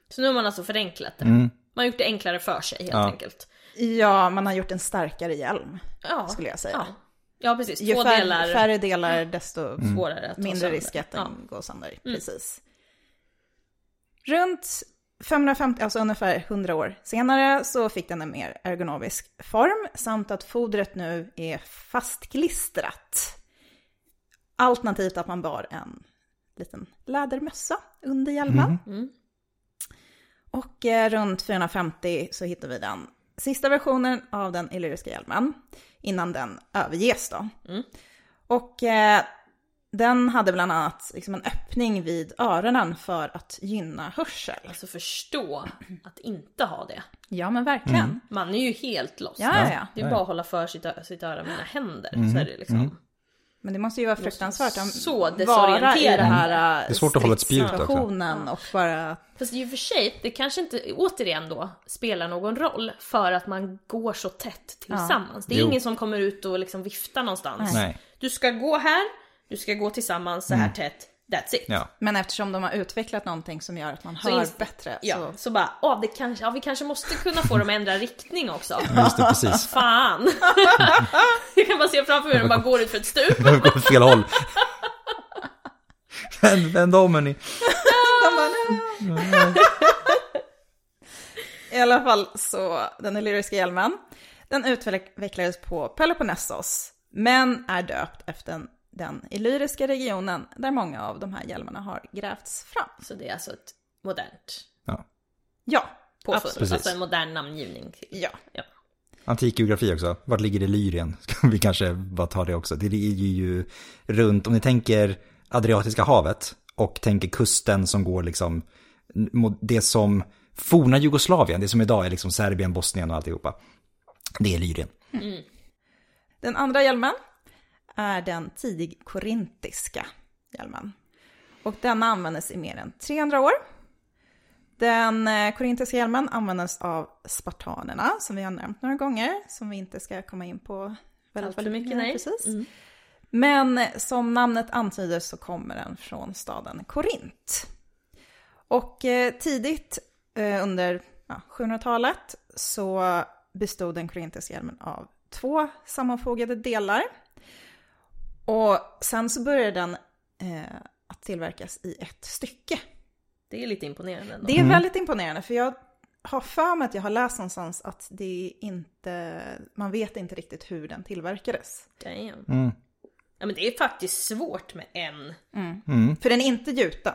S3: Så nu har man alltså förenklat det.
S2: Mm,
S3: Man har gjort det enklare för sig helt
S2: Ja.
S3: enkelt.
S1: Ja, man har gjort en starkare hjälm
S3: Ja.
S1: skulle jag säga.
S3: Ja, ja precis.
S1: Ju
S3: Två
S1: färre
S3: delar Mm.
S1: färre delar desto
S3: svårare att ta
S1: mindre
S3: sönder.
S1: risk att den
S3: ja. Mm.
S1: går sönder. Precis. Runt 550, alltså ungefär 100 år senare, så fick den en mer ergonomisk form samt att fodret nu är fastklistrat. Alternativt att man bar en liten lädermössa under hjälmen. Och eh, runt 450 så hittar vi den sista versionen av den illyriska hjälmen innan den överges då. Och eh, den hade bland annat liksom en öppning vid öronen för att gynna hörsel.
S3: Alltså förstå att inte ha det.
S1: Ja men verkligen.
S2: Mm.
S3: Man är ju helt lost.
S1: Ja, ja, ja.
S3: Det är bara att hålla för sitt, ö- sitt öra med mina händer.
S2: Mhm.
S3: Så är det liksom.
S2: Mm.
S1: Men det måste ju vara fruktansvärt att
S3: så
S1: vara i
S3: desorienterad.
S1: den här eh,
S2: Det är svårt att hålla ett spjut också.
S1: stridssituationen och bara...
S3: Fast i och för sig, det kanske inte återigen då spelar någon roll för att man går så tätt tillsammans. Det är
S2: Jo.
S3: ingen som kommer ut och liksom viftar någonstans.
S2: Nej. Mm.
S3: Du ska gå här, du ska gå tillsammans så här tätt, that's it.
S2: Ja.
S1: Men eftersom de har utvecklat någonting som gör att man
S3: Så
S1: hör
S3: ins-
S1: bättre
S3: Ja,
S1: så...
S3: så, bara, ja, det kanske, ja vi kanske måste kunna få dem att ändra riktning också.
S2: Just det, precis.
S3: Fan! Jag kan bara se framför mig hur de bara går ut för ett stup.
S2: Jag går åt fel håll. Vänd, vänd om hörni.
S1: De bara, "Nej." I alla fall så, den illyriska hjälmen, den utvecklades på Peloponnesos, men är döpt efter den illyriska regionen där många av de här hjälmarna har grävts fram.
S3: Så det är alltså ett modernt
S2: Ja.
S1: Ja,
S3: påfund,
S1: absolut.
S2: Precis.
S3: alltså en modern namngivning. Till.
S1: Ja.
S3: Ja.
S2: Antik geografi också. Vart ligger det Lyrien? Ska vi kanske bara ta det också. Det ligger ju runt, om ni tänker Adriatiska havet och tänker kusten som går liksom mot det som forna Jugoslavien, det som idag är liksom Serbien, Bosnien och alltihopa. Det är Lyrien.
S1: Den andra hjälmen är den tidig korintiska hjälmen. Och den användes i mer än 300 år. Den eh, korintiska hjälmen användes av spartanerna, som vi har nämnt några gånger, som vi inte ska komma in på
S3: Allt för mycket, nej. Mm.
S1: Precis. Men eh, som namnet antyder så kommer den från staden Korint. Och eh, tidigt eh, under ja, 700-talet så bestod den korintiska hjälmen av två sammanfogade delar. Och sen så började den eh, att tillverkas i ett stycke.
S3: Det är lite imponerande ändå.
S1: Det är väldigt imponerande för jag har för mig att jag har läst någonstans att det är inte, man vet inte riktigt hur den tillverkades.
S3: Damn.
S2: Mm,
S3: Ja men det är faktiskt svårt med en.
S1: Mm.
S2: mm.
S1: För den är inte gjuten.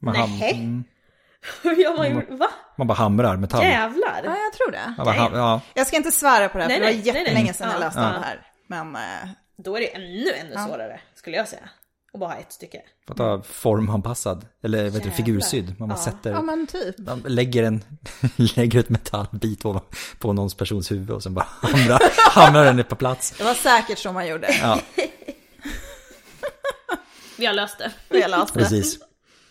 S2: Man,
S3: Nähä.
S2: ham- mm.
S3: ja, man, gjorde- va?
S2: man bara hamrar metall.
S1: Ja,
S3: Jävlar!
S1: jag tror det.
S2: Man bara ham- ja.
S1: Jag ska inte svära på det här
S3: Nej,
S1: för det var
S3: nej, nej, nej.
S1: jättelänge sedan jag
S3: Ja,
S1: läste
S3: ja.
S1: om det här. Men eh,
S3: Då är det ännu, ännu svårare skulle jag säga. Och bara ha ett stycke.
S2: Får ta formanpassad, eller vad heter det,
S3: Mm. Jävlar.
S2: figursydd. Man bara
S3: Ja.
S2: sätter,
S1: ja men typ.
S2: man lägger en, lägger ett metallbit på, på någons persons huvud och sen bara hamrar, hamrar den på plats.
S1: Det var säkert så man gjorde.
S2: Ja,
S3: Vi har löst det.
S1: när jag läste.
S2: precis.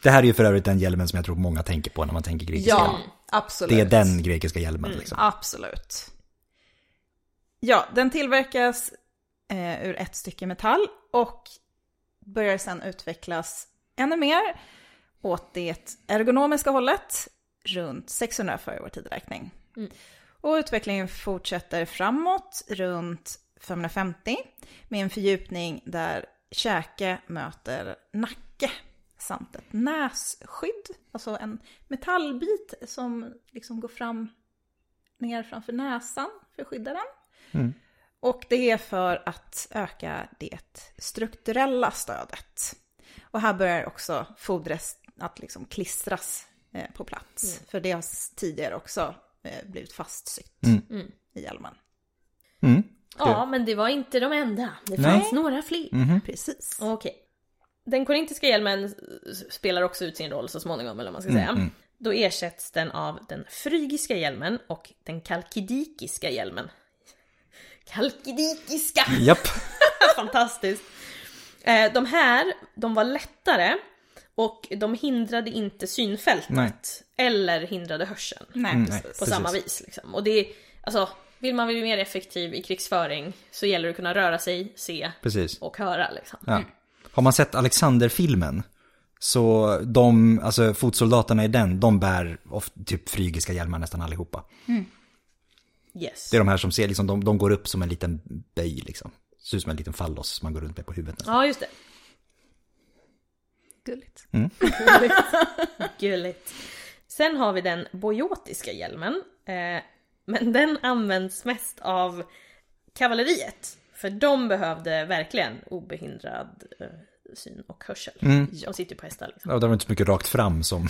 S2: Det här är ju för övrigt den hjälmen som jag tror många tänker på när man tänker grekiska.
S1: Ja,
S2: hjälm.
S1: absolut.
S2: Det är den grekiska
S3: Mm.
S2: hjälmen liksom.
S1: Absolut. Ja, den tillverkas eh, ur ett stycke metall och börjar sedan utvecklas ännu mer åt det ergonomiska hållet runt 600 före vår tideräkning. Och utvecklingen fortsätter framåt runt 550 med en fördjupning där käke möter nacke samt ett nässkydd, alltså en metallbit som liksom går fram ner framför näsan för att skydda den. Och det är för att öka det strukturella stödet. Och här börjar också fodret att liksom klistras eh, på plats.
S3: Mm.
S1: För det har s- tidigare också eh, blivit fastsytt i hjälmen.
S2: Mm.
S3: Ja, men det var inte de enda. Det
S2: Nej.
S3: fanns några fler.
S1: Precis.
S3: Okej. Den korintiska hjälmen s- spelar också ut sin roll så småningom, eller vad man
S2: Mm,
S3: ska säga. Då ersätts den av den frygiska hjälmen och den kalkidikiska hjälmen. Kalkidikiska!
S2: Japp.
S3: Fantastiskt! Eh, De här, de var lättare och de hindrade inte synfältet.
S2: Nej.
S3: Eller hindrade hörseln
S1: Nej,
S2: nej.
S1: precis.
S3: på samma vis. Liksom. Och det är, alltså, vill man bli mer effektiv i krigsföring så gäller det att kunna röra sig, se
S2: Precis.
S3: och höra. Liksom.
S2: Ja. Har man sett Alexander-filmen? Så de, alltså fotsoldaterna i den, de bär of, typ frygiska hjälmar nästan allihopa.
S3: Yes.
S2: Det är de här som ser, liksom, de, de går upp som en liten böj liksom. Ser ut som en liten fallos som man går runt med på huvudet.
S3: Ja, just det.
S1: Gulligt.
S3: Gulligt. Sen har vi den bojotiska hjälmen. Eh, men den används mest av kavalleriet. För de behövde verkligen obehindrad eh, syn och hörsel.
S2: Mm.
S3: De sitter ju på hästar liksom.
S2: Ja, det var inte så mycket rakt fram som,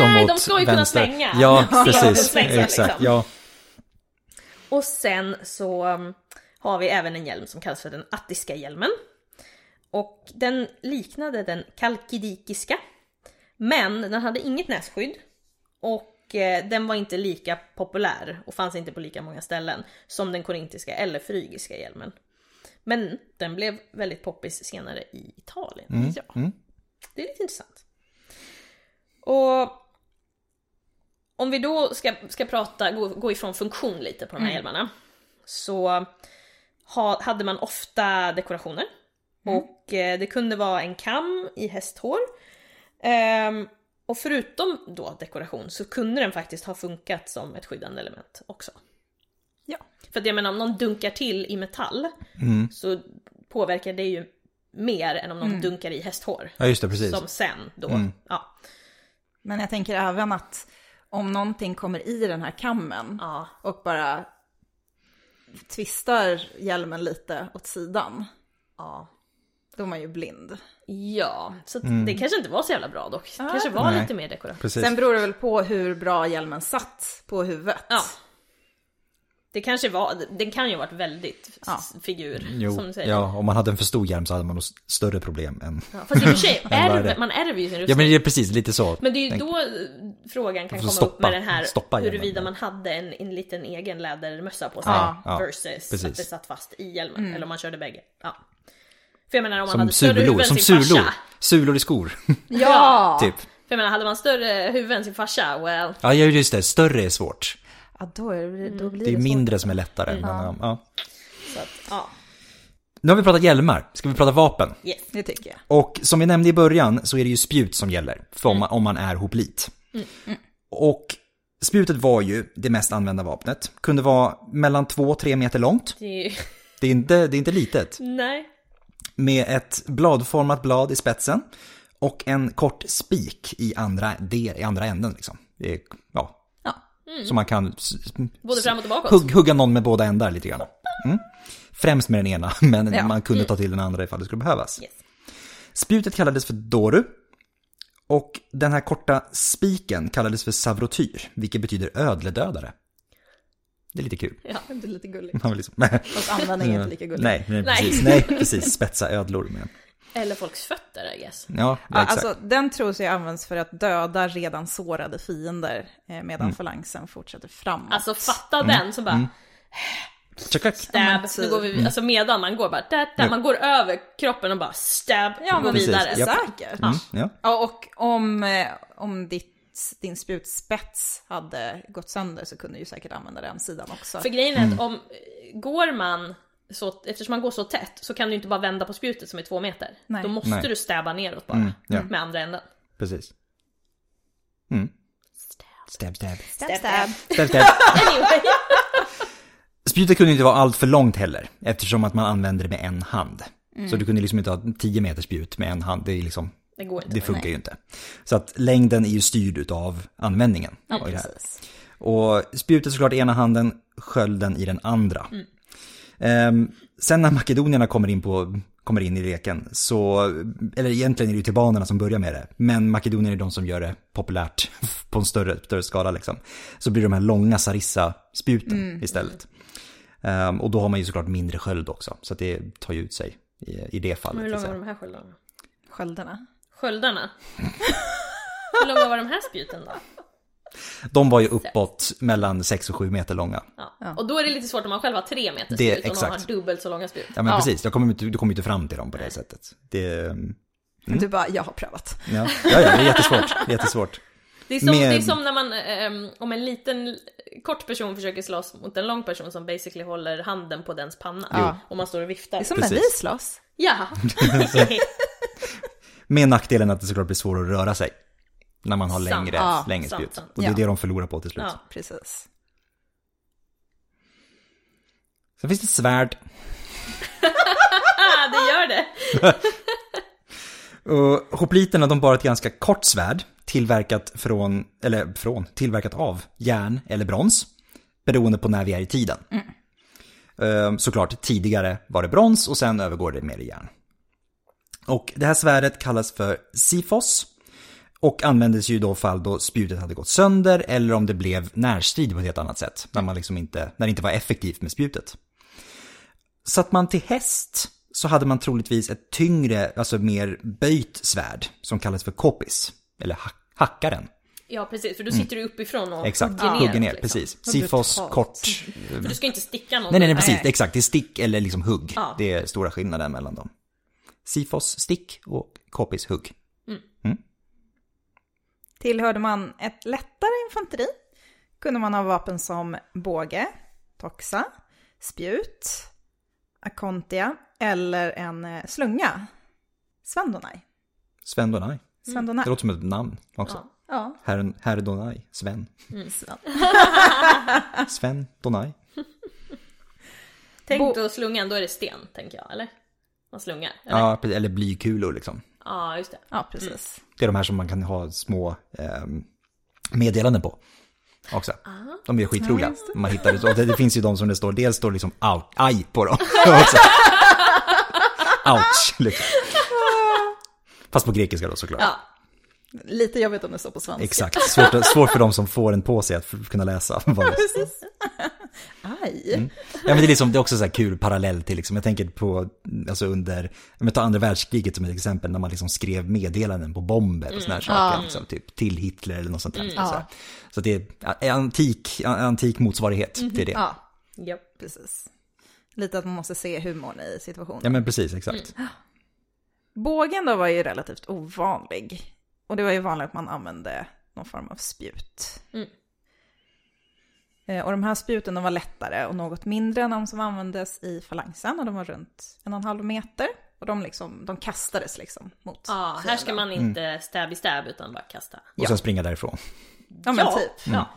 S3: Nej,
S2: åt
S3: de ska ju kunna
S2: vänster.
S3: svänga.
S2: Ja,
S3: Ja, de
S2: precis.
S3: svängs,
S2: Exakt,
S3: liksom.
S2: ja.
S3: Och sen så um, har vi även en hjälm som kallas för den attiska hjälmen. Och den liknade den kalkidikiska. Men den hade inget nässkydd. Och eh, den var inte lika populär och fanns inte på lika många ställen som den korintiska eller frygiska hjälmen. Men den blev väldigt poppis senare i Italien. Ja. Det är lite intressant. Och om vi då ska, ska prata, gå, gå ifrån funktion lite på de här hjälmarna. Så ha, hade man ofta dekorationer. Och eh, det kunde vara en kam i hästhår. Ehm, och förutom då dekoration så kunde den faktiskt ha funkat som ett skyddande element också.
S1: Ja.
S3: För att jag menar om någon dunkar till i metall så påverkar det ju mer än om någon dunkar i hästhår.
S2: ja, just det, precis. Mm.
S3: Som sen då, ja,
S1: Men jag tänker även att om någonting kommer i den här kammen
S3: ja,
S1: och bara twistar hjälmen lite åt sidan,
S3: ja.
S1: då är man ju blind.
S2: Typ.
S3: Ja, så att det kanske inte var så jävla bra dock. Det
S1: Ah.
S3: kanske var
S2: Mm. Nej.
S3: lite mer dekorativt.
S2: Precis.
S1: Sen beror det väl på hur bra hjälmen satt på huvudet.
S3: Ja. Det kanske var, den kan ju ha varit väldigt
S1: Ja.
S3: s- figur,
S2: Jo,
S3: som du säger.
S2: ja, om man hade en för stor hjälm så hade man nog s- större problem än...
S3: Ja, Fast i och för sig,
S2: Men vad är
S3: ärver,
S2: det?
S3: man ärver ju sin rustning.
S2: Ja, men
S3: men,
S2: det är precis lite så.
S3: det är ju då eh, frågan kan
S2: får
S3: komma upp
S2: stoppa-
S3: med den
S2: stoppa
S3: här
S2: hjälmen.
S3: huruvida man hade en, en liten egen lädermössa på sig.
S2: Ja, ja,
S3: versus
S2: precis.
S3: att det satt fast i hjälmen, eller om man körde bägge. Ja. För jag menar om man
S2: Som
S3: hade större huvud
S2: sulor,
S3: än
S2: som
S3: sin
S2: sulor.
S3: farsa.
S2: Sulor i skor,
S3: Ja!
S2: typ.
S3: För jag menar, hade man större huvud än sin farsa, well,
S2: Ja, ja, just det. Större är svårt.
S1: Ja, då, är det, då blir
S2: Det är ju
S1: svårt.
S2: mindre som är lättare.
S3: Mm.
S2: Men, ja.
S3: så att, ja.
S2: Nu har vi pratat hjälmar. Ska vi prata vapen?
S3: Yes.
S1: Det tycker jag.
S2: Och som vi nämnde i början så är det ju spjut som gäller, för om, man, om man är hoplit. Och spjutet var ju det mest använda vapnet. Kunde vara mellan 2-3 meter långt.
S3: Det är ju,
S2: Det är, inte, det är inte litet.
S3: nej.
S2: Med ett bladformat blad i spetsen och en kort spik i andra, del, i andra änden. Liksom. Det är, ja,
S1: Ja.
S2: Så man kan s- s-
S3: Både framåt och bakåt.
S2: hugg, hugga någon med båda ändar lite grann. Mm. Främst med den ena, men
S1: Ja.
S2: man kunde ta till den andra ifall det skulle behövas.
S3: Yes.
S2: Spjutet kallades för doru. Och den här korta spiken kallades för savrotyr, vilket betyder ödledödare. Det är lite kul.
S1: Det blir lite gulligt.
S2: Man vill liksom,
S1: Fast användningen är inte lika gullig.
S2: Mm. nej, nej, precis. Nej, precis. Spetsa ödlor med.
S3: Eller folks fötter I guess.
S2: Ja,
S1: Ja,
S2: ja, exakt.
S1: alltså, den tros ju används för att döda redan sårade fiender eh, medan
S2: Mm.
S1: falangen fortsätter framåt.
S3: Alltså fatta den som bara
S2: Tjack, tjack.
S3: stab,
S1: men
S3: nu
S1: typ.
S3: går
S2: Mm.
S3: vi, alltså medan man går bara där, där, man går över kroppen och bara stab,
S1: ja, men
S3: går
S2: precis.
S3: vidare.
S2: Japp.
S1: säkert.
S2: Mm, ja.
S1: Ja, och om, eh, om ditt, din spjutspets hade gått sönder så kunde du ju säkert använda den sidan också.
S3: För grejen
S2: Mm.
S3: är att om, går man så, eftersom man går så tätt så kan du inte bara vända på spjutet som är två meter.
S1: Nej.
S3: Då måste
S2: Nej. Mm,
S3: du stäba neråt bara,
S2: ja.
S3: med andra änden.
S2: precis. Mm. Stab,
S1: Stab,
S2: stab.
S1: stab.
S2: Stab, stab.
S3: Anyway.
S2: Spjutet kunde inte vara allt för långt heller, eftersom att man använder det med en hand. Så du kunde liksom inte ha 10 meter spjut med en hand, det, är liksom,
S3: Det går inte.
S2: det funkar ju inte. Så att längden är ju styrd utav användningen. av det här.
S1: precis.
S2: Och spjutet såklart i ena handen, skölden i den andra. Ehm, sen när makedonierna kommer in, på, kommer in i leken så, eller egentligen är det ju tebanerna som börjar med det, men makedonierna är de som gör det populärt på en större, större skala liksom. Så blir det de här långa sarissa-spjuten
S3: Mm.
S2: istället. Ehm, och då har man ju såklart mindre sköld också, så att det tar ju ut sig i, i det fallet. liksom.
S3: Hur
S2: så att
S3: långa var
S2: säga.
S3: de här sköldarna?
S1: Sköldarna.
S3: Sköldarna? Hur långa var de här spjuten då?
S2: De var ju uppåt mellan 6 och 7 meter långa.
S3: Ja. Och då är det lite svårt om man själv har tre
S2: Det-
S3: meter spjut och någon
S2: exakt.
S3: har dubbelt så långa spjut.
S2: Ja men precis, jag kommer, inte- du kommer ju inte fram till dem på det sättet. Det, ehm,
S1: Du bara, jag har prövat.
S2: Ja, ja, ja det är jättesvårt. Det är jättesvårt.
S3: Det är som,
S2: Med-
S3: det är som när man, ehm, om en liten eh, kort person försöker slåss mot en lång person som basically håller handen på dens panna.
S1: Jo.
S3: Och man står och viftar.
S1: Det är som när vi
S2: Precis.
S1: slåss.
S3: Ja!
S2: Med nackdelen att det såklart blir svårare att röra sig. När man har
S3: Sant.
S2: längre,
S1: Ja,
S2: längre
S3: sant,
S2: spjut.
S3: sant.
S2: Och det är
S1: Ja.
S2: det de förlorar på till slut.
S3: Ja.
S1: Precis.
S2: Sen finns det svärd.
S3: ah, det gör det!
S2: Och hopliterna de bar ett ganska kort svärd. Tillverkat från, eller från, tillverkat av järn eller brons. Beroende på när vi är i tiden. Ehm, Såklart, tidigare var det brons och sen övergår det mer i järn. Och det här svärdet kallas för sifos. Och användes ju då fall då spjutet hade gått sönder eller om det blev närstrid på ett helt annat sätt. När, man liksom inte, när det inte var effektivt med spjutet. Satt man till häst så hade man troligtvis ett tyngre, alltså mer böjt svärd som kallas för kopis. Eller hack- hackaren.
S3: Ja precis, för då sitter du uppifrån och
S2: Exakt,
S3: hugger
S2: hugger ner.
S3: liksom.
S2: Precis. Sifos,
S1: brutalt.
S2: kort.
S3: För du ska inte sticka någon.
S2: Nej, nej, nej, precis.
S1: Nej.
S2: Exakt. Det är stick eller liksom hugg.
S3: Ja.
S2: Det är stora skillnaden mellan dem. Sifos stick och kopis hugg.
S1: Tillhörde man ett lättare infanteri kunde man ha vapen som båge, toxa, spjut, akontia eller en eh, slunga. Svendonaj.
S2: Sven Donai.
S1: Svendonaj.
S2: Det låter som ett namn också.
S3: Ja.
S1: Ja.
S2: Herren, herr Donai. Sven.
S1: Sven.
S2: Sven Donai.
S3: Tänk
S1: Bo-
S3: då slungan, då är det sten, tänker jag, eller? Man slungar, eller? Ja,
S2: Ja, precis. eller blykulor liksom.
S3: just det.
S1: Ja, precis.
S2: Det är de här som man kan ha små ehm, meddelanden på. Också. De är skitroliga. Man hittar det, och det, det finns ju de som det står, dels står det liksom au, aj på dem. Också. Ouch, liksom. Fast på grekiska då såklart.
S3: Ja.
S1: Lite jobbigt om det står på svenska.
S2: Exakt, svårt, svårt för de som får en på sig att f- kunna läsa. vad det-
S1: Aj.
S2: Ja, men det, är liksom, det är också så här kul parallell till, liksom, jag tänker på, alltså under, jag tar andra världskriget som ett exempel, när man liksom skrev meddelanden på bomber och såna här
S3: Mm.
S2: saker, liksom, typ till Hitler eller något sånt där. liksom, Så, här. så att det är a- antik, a- antik motsvarighet
S3: Mhm.
S2: till det.
S1: Ja,
S3: Japp.
S1: precis. Lite att man måste se humorn i situationen.
S2: Ja men precis, exakt.
S3: Mm.
S1: Bågen då var ju relativt ovanlig. Och det var ju vanligt att man använde någon form av spjut.
S3: Mm.
S1: Eh, Och de här spjuten de var lättare och något mindre än de som användes i falangen. Och de var runt en och en halv meter. Och de, liksom, de kastades liksom mot
S3: Ja, Ah, här ska
S1: fienden.
S3: man inte stab i stab utan bara kasta.
S2: Och sen springa därifrån.
S1: Ja, men typ.
S3: ja.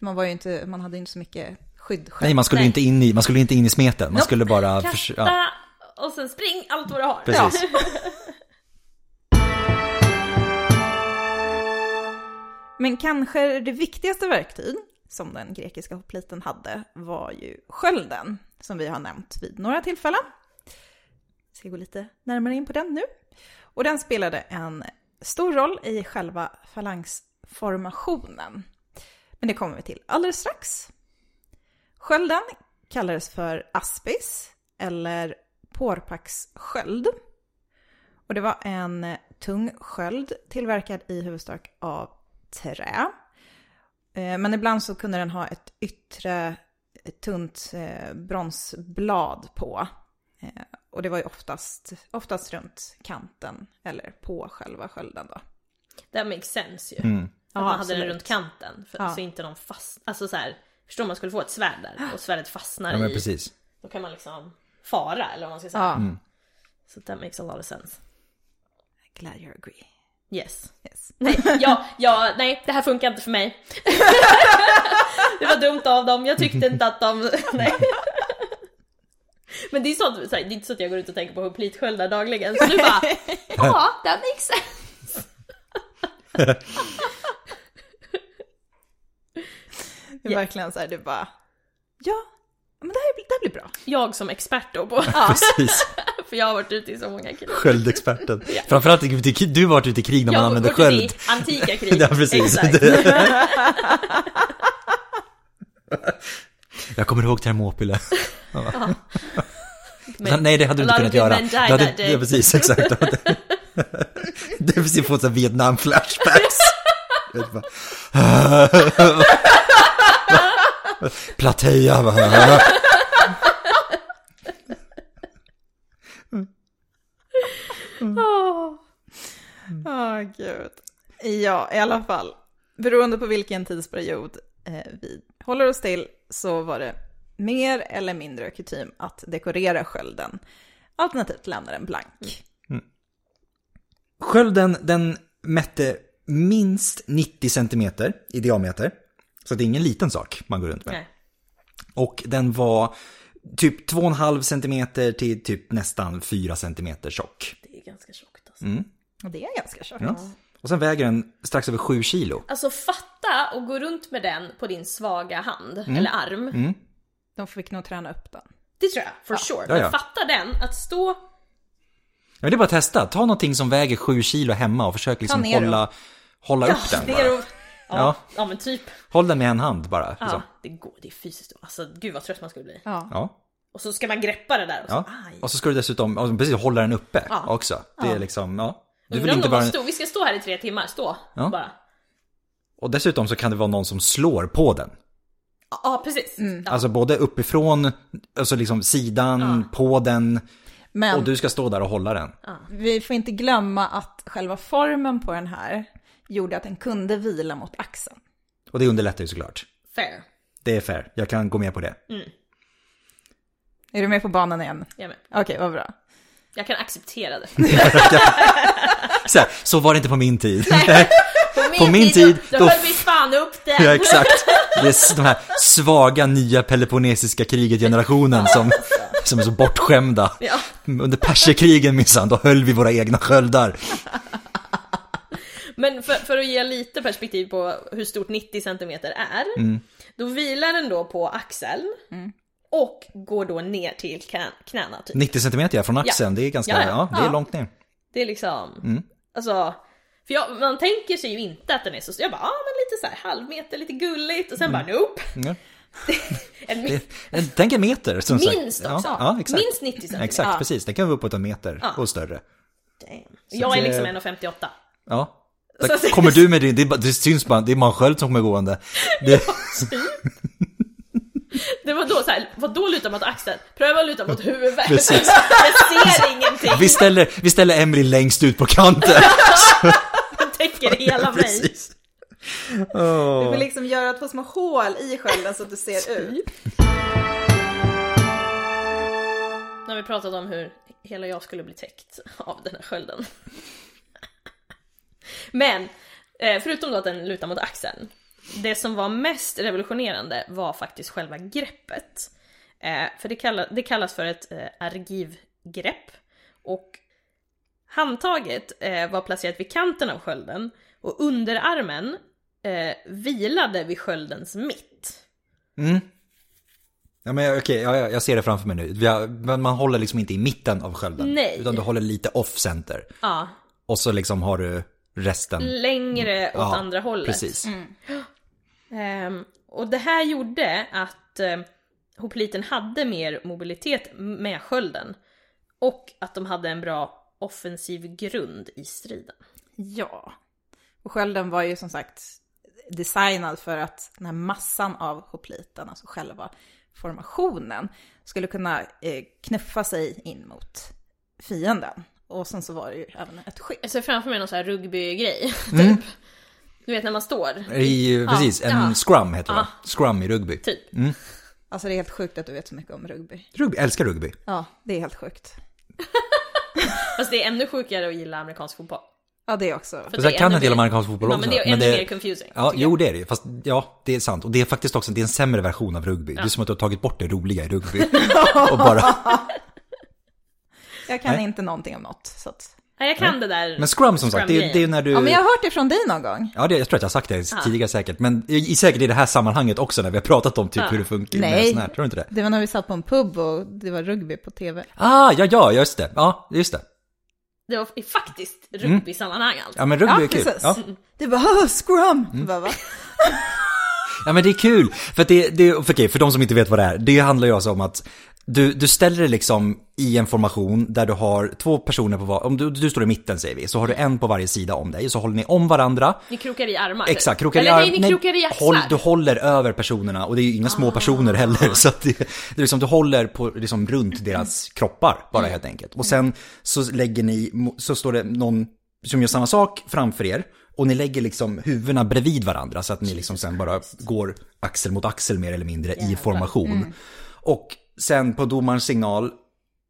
S1: Man, var ju inte, man hade ju inte så mycket skydd själv.
S2: Nej, man skulle ju
S3: Nej.
S2: inte in i, man skulle ju inte in i smeten, man
S3: Nope.
S2: skulle bara... förs-
S3: Kasta
S2: ja,
S3: och sen spring allt vad du har.
S2: precis.
S1: Men kanske det viktigaste verktyg som den grekiska hopliten hade var ju skölden, som vi har nämnt vid några tillfällen. Jag ska gå lite närmare in på den nu. Och den spelade en stor roll i själva falangsformationen. Men det kommer vi till alldeles strax. Skölden kallades för aspis, eller pårpackssköld. Och det var en tung sköld tillverkad i huvudsak av trä. Eh, Men ibland så kunde den ha ett yttre ett tunt eh, bronsblad på. Eh, Och det var ju oftast, oftast runt kanten eller på själva skölden då.
S3: Det makes sense ju.
S2: Mm.
S1: Ja,
S3: Att man hade
S1: absolut.
S3: den runt kanten, för,
S1: Ja.
S3: så inte någon fast... Alltså så här, förstår man skulle få ett svärd där och svärdet fastnar
S2: Ja men
S3: i.
S2: precis.
S3: Då kan man liksom fara eller vad man ska säga.
S1: Ja,
S3: Så that makes a lot of sense.
S1: glad you agree.
S3: Yes.
S1: Yes.
S3: Nej, ja, ja, nej, det här funkar inte för mig. det var dumt av dem, jag tyckte inte att de... Nej. Men det är, sånt, så här, det är inte så att jag går ut och tänker på hoplitsköldar dagligen, så du bara ja, that makes sense.
S1: Det är verkligen så här, du bara, ja, men det här, blir- det här blir bra.
S3: Jag som expert då på,
S2: Precis.
S3: för jag har varit ute i så många krig.
S2: Sköldexperten. Framförallt, ute i krig- du har varit ute i krig när
S3: Jag
S2: man
S3: har
S2: använder
S3: gått ut i
S2: sköld.
S3: Antika krig.
S2: Ja, precis.
S3: Exakt.
S2: Jag kommer ihåg Thermopyle.
S3: Men-
S2: Nej, det hade du inte
S3: Eller
S2: kunnat
S3: hade
S2: göra.
S3: du
S2: Du
S3: men
S2: hade,
S3: died that
S2: ja,
S3: day.
S2: precis, exakt. Du hade- Du hade precis fått så här Vietnam-flashbacks. Du vet, bara- Platea, va?
S3: Åh.
S1: Åh gud. Ja, i alla fall. Beroende på vilken tidsperiod eh, vi håller oss till så var det mer eller mindre kutym att dekorera skölden. Alternativt lämna den
S2: Mm.
S1: blank.
S2: Skölden, den mätte minst 90 centimeter i diameter. Så det är ingen liten sak man går runt med.
S3: Nej.
S2: Och den var typ 2,5 centimeter till typ nästan 4 centimeter tjock.
S3: Det är ganska tjockt alltså.
S2: Mm.
S1: Och det är ganska tjockt.
S2: Och sen väger den strax över 7 kilo.
S3: Alltså fatta och gå runt med den på din svaga hand
S2: Mm.
S3: eller arm.
S1: De fick nog träna upp den.
S3: Det tror jag, for sure.
S2: Ja, ja.
S3: Men fatta den, att stå...
S2: Ja, det är bara att testa. Ta någonting som väger 7 kilo hemma och försök liksom
S1: ner
S2: hålla, hålla upp den
S3: ner
S2: bara.
S3: och... ja,
S2: Ja.
S3: ja. men typ.
S2: Håll den med en hand bara.
S3: Ja,
S2: Liksom.
S3: det, går, det är fysiskt. Alltså gud vad trött man skulle bli.
S1: Ja.
S2: Ja.
S3: Och så ska man greppa det där också.
S2: Ja.
S3: Aj.
S2: Och så ska du dessutom, ja, precis, hålla den uppe också. Det är liksom, ja. Du vill
S3: Undrar om
S2: inte
S3: de
S2: bara...
S3: bara... stå, vi ska stå här i tre timmar, stå
S2: Ja.
S3: bara.
S2: Och dessutom så kan det vara någon som slår på den.
S3: Ja, ja, precis. Ja.
S2: Alltså både uppifrån, alltså liksom sidan, på den.
S1: Men
S2: Och du ska stå där och hålla den.
S1: vi får inte glömma att själva formen på den här gjorde att den kunde vila mot axeln.
S2: Och det underlättar ju såklart.
S3: Fair.
S2: Det är fair, jag kan gå med på det.
S3: Mm.
S1: Är du med på banan igen?
S3: Jag, är med.
S1: Okej, vad bra.
S3: jag kan acceptera det.
S2: Så, här, så var det inte på min tid.
S3: På
S2: min tid,
S3: då,
S2: då-
S3: då höll vi fan upp den!
S2: ja, exakt. Det är s- de här svaga nya Peloponnesiska kriget-generationen som, som är så bortskämda.
S3: Ja.
S2: Under perserkrigen minsann, då höll vi våra egna sköldar.
S3: Men för, för att ge lite perspektiv på hur stort 90 cm är.
S2: Mm.
S3: Då vilar den då på axeln. Och går då ner till knä, knäna typ.
S2: 90 centimeter ja, från axeln, det är ganska,
S3: Ja,
S2: ja,
S3: ja.
S2: det är
S3: Ja.
S2: långt ner.
S3: Det är liksom,
S2: Mm.
S3: alltså. För jag, man tänker sig ju inte att den är så stor. Jag bara, ja ah, men lite så här halvmeter, lite gulligt. Och sen
S2: Mm.
S3: bara nope.
S2: Ja.
S3: En, mi-
S2: Det- eh, Tänk en meter som
S3: minst
S2: sagt.
S3: också.
S2: Ja, ja, exakt.
S3: Minst 90 cm.
S2: Exakt,
S1: Ja.
S2: precis. Den kan vara uppåt en meter
S3: Ja.
S2: och större.
S3: Jag är
S2: det-
S3: liksom 1,58.
S2: Ja.
S3: Så
S2: Där
S3: att det-
S2: kommer du med din, det, är bara- det syns bara, det är man själv som kommer gående. Det,
S3: Det var då så här, vadå luta mot axeln? Pröva att luta mot huvudet.
S2: Precis.
S3: Jag ser ingenting,
S2: vi ställer, vi ställer Emily längst ut på kanten.
S3: den täcker hela mig.
S2: Precis. Åh.
S1: Du vill liksom göra två små hål i skölden så att du ser ut.
S3: Nu har vi pratat om hur hela jag skulle bli täckt av den här skölden. Men, eh, förutom då att den lutar mot axeln. Det som var mest revolutionerande var faktiskt själva greppet. Eh, För det, kalla, det kallas för ett eh, argivgrepp. Och handtaget eh, var placerat vid kanten av skölden och underarmen eh, vilade vid sköldens mitt.
S2: Mm. Ja men okej, ja, ja, jag ser det framför mig nu. Vi har, men man håller liksom inte i mitten av skölden.
S3: Nej.
S2: Utan du håller lite off center.
S3: Ja,
S2: Och så liksom har du resten.
S3: längre åt
S2: Ja,
S3: andra hållet.
S2: Precis.
S3: Ehm, och det här gjorde att um, hopliten hade mer mobilitet med skölden. Och att de hade en bra offensiv grund i striden.
S1: Ja. Och skölden var ju som sagt designad för att den här massan av hopliten, alltså själva formationen, skulle kunna eh, knuffa sig in mot fienden. Och sen så var det ju även ett skydd.
S3: Jag ser framför mig någon sån här rugbygrej, typ.
S2: Mm.
S3: Du vet när man står,
S2: I, precis, en
S3: ja.
S2: scrum heter det va? Scrum i rugby.
S3: typ.
S1: Alltså det är helt sjukt att du vet så mycket om rugby.
S2: rugby. jag Älskar rugby.
S1: Ja, det är helt sjukt.
S3: Fast det är ännu sjukare att gilla amerikansk fotboll.
S1: Ja, det också.
S3: För
S2: Så jag
S3: det är
S2: kan
S3: ännu
S2: en del om
S3: mer-
S2: amerikansk fotboll
S3: Ja,
S2: också.
S3: men det är ännu mer confusing.
S2: Ja, jo det är det ju. Fast ja, det är sant. Och det är faktiskt också det är en sämre version av rugby. Det är som att du har tagit bort det roliga i rugby. och bara...
S1: Jag kan
S2: Nej. Eh.
S1: inte någonting om något. Så att...
S3: Nej, jag kan det där.
S2: Mm. Men scrum som sagt, det är, det är ju när du...
S1: Ja, men jag har hört det från dig någon gång.
S2: Ja, det, jag tror att jag har sagt det tidigare säkert, men i, i- säkert i det här sammanhanget också när vi har pratat om typ hur det funkar med
S1: Nej.
S2: sån här, tror du inte det?
S1: Det var när vi satt på en pub och det var rugby på tv.
S2: Ah, ja, ja, just det. Ja, just det.
S3: Det var i- faktiskt rugby-sammanhang
S2: Mm.
S3: alltså.
S2: Ja, men rugby
S1: Ja,
S2: är kul.
S1: precis.
S2: Ja. Mm.
S1: Det var "Åh, scrum! Bara, va?
S2: ja, men det är kul. För, att det, det, för, okej, för de som inte vet vad det är, det handlar ju alltså om att du, du ställer dig liksom i en formation där du har två personer på var, om du, du står i mitten säger vi, så har du en på varje sida om dig, så håller ni om varandra.
S3: Ni krokar i armar. typ.
S2: Exakt, krokar i
S3: Eller
S2: arm-
S3: nej, ni Ah. krokar i axlar.
S2: håll, Du håller över personerna och det är ju inga små personer heller. Så att det, det är liksom, du håller på, liksom, runt deras kroppar bara helt enkelt. Och sen så lägger ni, mo- så står det någon som gör samma sak framför er. Och ni lägger liksom huvudena bredvid varandra så att ni liksom sen bara går axel mot axel mer eller mindre i formation.
S3: Mm.
S2: Och sen på domarens signal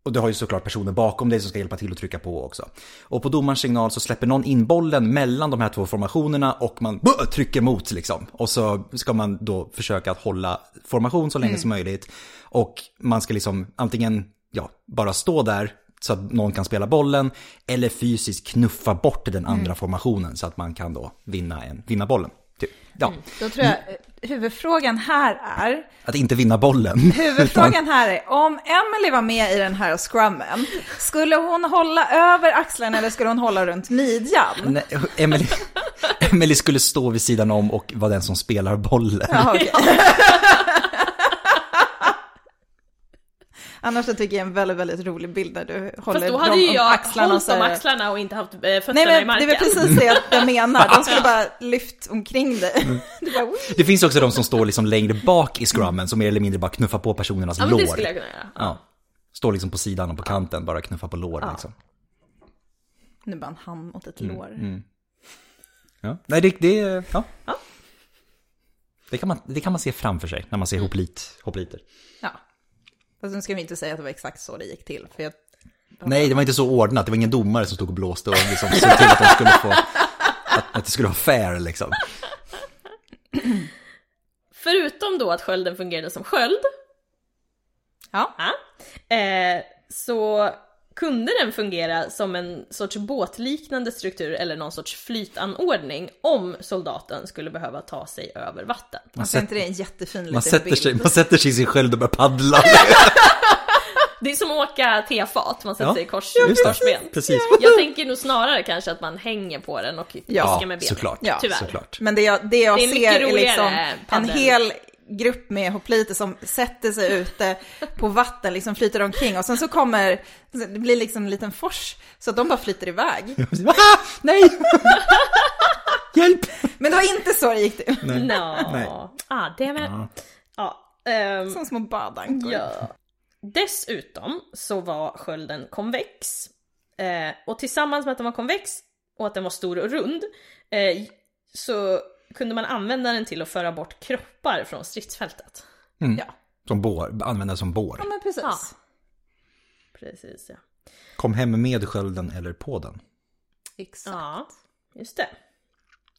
S2: och du har ju såklart personer bakom dig som ska hjälpa till att trycka på också. Och på domarens signal så släpper någon in bollen mellan de här två formationerna och man bö, trycker mot liksom. Och så ska man då försöka att hålla formation så länge som möjligt. Och man ska liksom antingen, ja, bara stå där så att någon kan spela bollen eller fysiskt knuffa bort den andra formationen så att man kan då vinna, en, vinna bollen. Typ. Ja,
S1: Då tror jag eh, huvudfrågan här är,
S2: att inte vinna bollen.
S1: huvudfrågan här är, om Emily var med i den här scrummen, skulle hon hålla över axlarna eller skulle hon hålla runt midjan?
S2: Nej, Emily, Emily skulle stå vid sidan om och vara den som spelar bollen.
S1: Jaha, okej. Annars så tycker jag en väldigt, väldigt rolig bild där du håller
S3: Fast då
S1: dem
S3: hade ju
S1: om
S3: jag
S1: axlarna och
S3: hållit
S1: så
S3: om
S1: här-
S3: axlarna och inte haft eh, fötterna
S1: Nej
S3: i
S1: men det
S3: marken.
S1: är väl precis det jag menar, de skulle bara lyft omkring
S3: Mm.
S1: dig. Du bara, "Wii."
S2: Det finns också de som står liksom längre bak i scrummen som mer eller mindre bara knuffar på personernas
S3: Ja, men
S2: lår.
S3: det skulle jag kunna göra.
S2: Ja. Står liksom på sidan och på kanten, bara knuffar på lår liksom.
S1: nu bara en hand mot ett
S3: Mm.
S1: lår.
S2: Ja. Nej, det, det, ja. Det, kan man, det kan man se framför sig när man ser
S3: Mm.
S2: hoplit, hopliter.
S1: Ja. Fast nu ska vi inte säga att det var exakt så det gick till, för jag
S2: Nej, det var inte så ordnat. Det var ingen domare som stod och blåste och liksom såg till att de skulle få... Att, att det skulle vara fair liksom.
S3: Förutom då att skölden fungerade som sköld,
S1: Ja.
S3: ja, eh, så kunde den fungera som en sorts båtliknande struktur eller någon sorts flytanordning om soldaten skulle behöva ta sig över vatten.
S2: Man,
S1: Alltså, är inte
S2: sätter,
S1: det en jättefin liten
S2: man, sätter,
S1: bild?
S2: sig, man sätter sig i sin sköld och börjar paddla.
S3: Det är som att åka tefat, man sätter
S2: Ja,
S3: sig i kors,
S2: just det.
S3: korsben.
S2: Precis.
S3: Jag tänker nog snarare kanske att man hänger på den och fiskar
S1: Ja,
S3: med benen.
S2: såklart.
S1: Ja.
S3: Tyvärr. Mm.
S2: såklart.
S1: Men det jag, det jag
S3: Det är mycket
S1: ser är
S3: roligare
S1: liksom en
S3: paddel.
S1: hel grupp med hopliter som sätter sig ute på vatten, liksom flyter omkring och sen så kommer, det blir liksom en liten fors, så att de bara flyter iväg.
S2: Ah, nej! Hjälp!
S1: Men det var inte så det gick till.
S3: Nå.
S2: Nej.
S3: Ah, det är med. Ja. ehm,
S1: Som små badankor.
S3: ja. Dessutom så var skölden konvex. Eh, och tillsammans med att den var konvex och att den var stor och rund eh, så kunde man använda den till att föra bort kroppar från stridsfältet.
S2: Som bår, använda som
S1: Ja
S2: bår.
S1: men precis.
S3: Ja. Precis ja.
S2: Kom hem med skölden eller på den.
S1: Exakt.
S3: Ja, just det.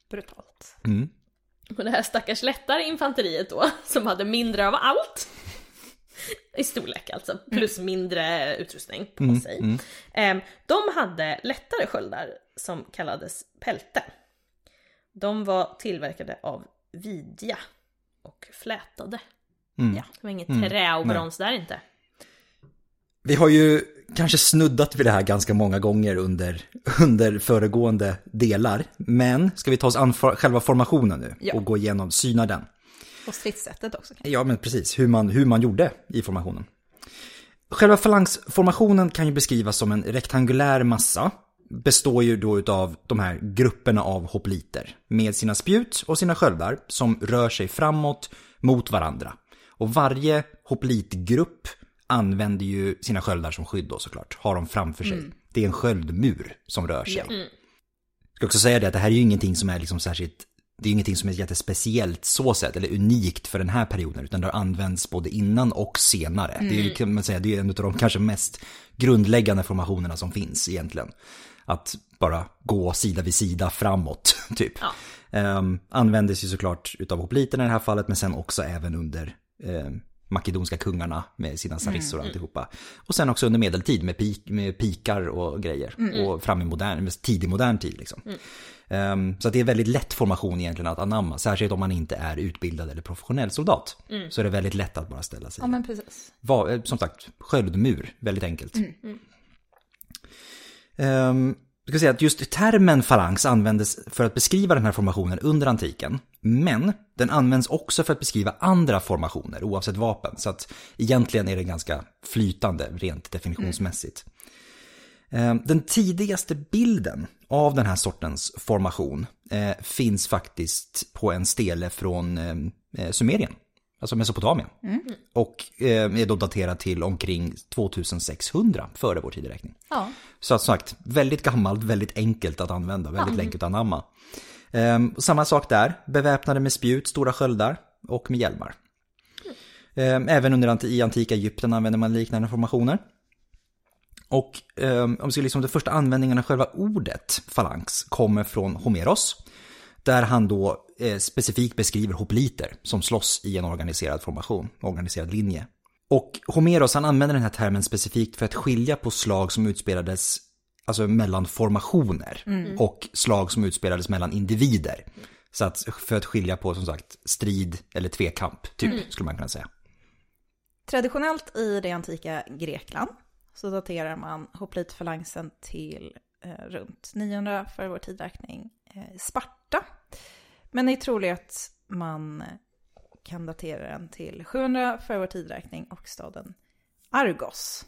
S1: Brutalt.
S3: Och det här stackars lättare infanteriet då, som hade mindre av allt. I storlek alltså, plus mindre utrustning på sig. Ehm, De hade lättare sköldar som kallades pälte. De var tillverkade av vidja och flätade.
S2: Mm.
S3: Ja, det var inget trä och brons där inte.
S2: Vi har ju kanske snuddat vid det här ganska många gånger under, under föregående delar. Men ska vi ta oss an for, själva formationen nu
S1: Ja.
S2: och gå igenom, syna den?
S1: Och stridssättet också.
S2: Ja, men precis. Hur man, hur man gjorde i formationen. Själva falangsformationen kan ju beskrivas som en rektangulär massa. Består ju då utav de här grupperna av hopliter. Med sina spjut och sina sköldar som rör sig framåt mot varandra. Och varje hoplitgrupp använder ju sina sköldar som skydd då såklart. Har dem framför sig. Det är en sköldmur som rör sig. Jag ska också säga det att det här är ju ingenting som är liksom särskilt, det är ju ingenting som är jättespeciellt så sett, eller unikt för den här perioden, utan det har använts både innan och senare. Det är ju, kan man säga, det är ju en av de kanske mest grundläggande formationerna som finns egentligen. att bara gå sida vid sida framåt, typ.
S3: Ja.
S2: Ehm, användes ju såklart utav hopliterna i det här fallet, men sen också även under ehm, makedonska kungarna med sina sarissor och alltihopa. Och sen också under medeltid med, pik, med pikar och grejer. Och fram i modern, med tidig modern tid liksom. Ehm, så att det är väldigt lätt formation egentligen att anamma, särskilt om man inte är utbildad eller professionell soldat. Så är det väldigt lätt att bara ställa sig
S1: Ja, men precis.
S2: var, eh, som sagt, sköldmur. Väldigt enkelt. Ehm, jag ska säga att just termen falangs användes för att beskriva den här formationen under antiken. Men den används också för att beskriva andra formationer oavsett vapen. Så att egentligen är den ganska flytande rent definitionsmässigt. Ehm, Den tidigaste bilden av den här sortens formation eh, finns faktiskt på en stele från eh, Sumerien, alltså Mesopotamien. Och eh, är då daterad till omkring 2600 före vår tideräkning.
S1: Ja.
S2: Så att sagt, väldigt gammalt, väldigt enkelt att använda, väldigt enkelt att anamma. Ehm, samma sak där, beväpnade med spjut, stora sköldar och med hjälmar. Ehm, även under anti- i antika Egypten använde man liknande formationer. Och ehm, om vi ska liksom den första användningen av själva ordet falangs kommer från Homeros. Där han då eh, specifikt beskriver hopliter som slåss i en organiserad formation, organiserad linje. Och Homeros han använder den här termen specifikt för att skilja på slag som utspelades alltså mellan formationer
S1: Mm.
S2: och slag som utspelades mellan individer. Så att, för att skilja på som sagt strid eller tvekamp, typ,
S1: Mm.
S2: skulle man kunna säga.
S1: Traditionellt i det antika Grekland så daterar man hoplitfalansen till eh, runt 900 före vår tidräkning eh, Sparta. Men det är troligt att man kan datera den till 700 före vår tidräkning och staden Argos.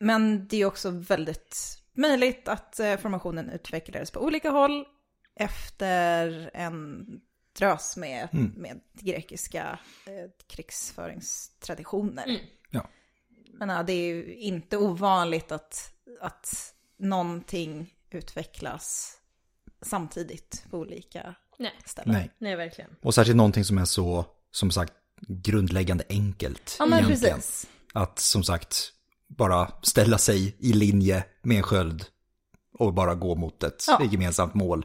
S1: Men det är också väldigt möjligt att eh, formationen utvecklades på olika håll efter en drös med,
S2: Mm.
S1: med grekiska eh, krigsföringstraditioner.
S2: Ja.
S1: Men ja, det är ju inte ovanligt att, att någonting utvecklas samtidigt på olika
S3: Nej.
S1: ställen.
S2: Nej.
S3: Nej, verkligen.
S2: Och särskilt någonting som är så, som sagt, grundläggande enkelt.
S1: Ja, men
S2: egentligen.
S1: precis.
S2: Att som sagt, bara ställa sig i linje med en sköld och bara gå mot ett
S1: Ja. Mm.
S2: gemensamt mål.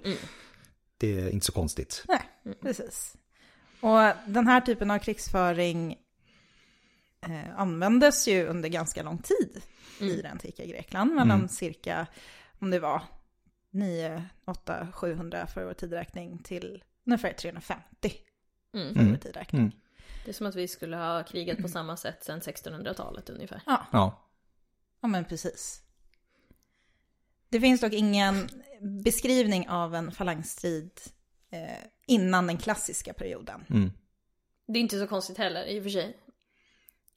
S2: Det är inte så konstigt.
S1: Nej, precis. Och den här typen av krigsföring eh, användes ju under ganska lång tid
S3: Mm.
S1: i det antika Grekland, mellan cirka, om det var 9, 8, 700 för vår tidräkning till ungefär 350
S3: Mm.
S1: för vår tidräkning.
S2: Mm.
S3: Det är som att vi skulle ha krigat på samma sätt sedan 1600-talet ungefär.
S1: Ja,
S2: Ja.
S1: ja, men precis. Det finns dock ingen beskrivning av en falangstrid eh, innan den klassiska perioden.
S2: Mm.
S3: Det är inte så konstigt heller i och för sig.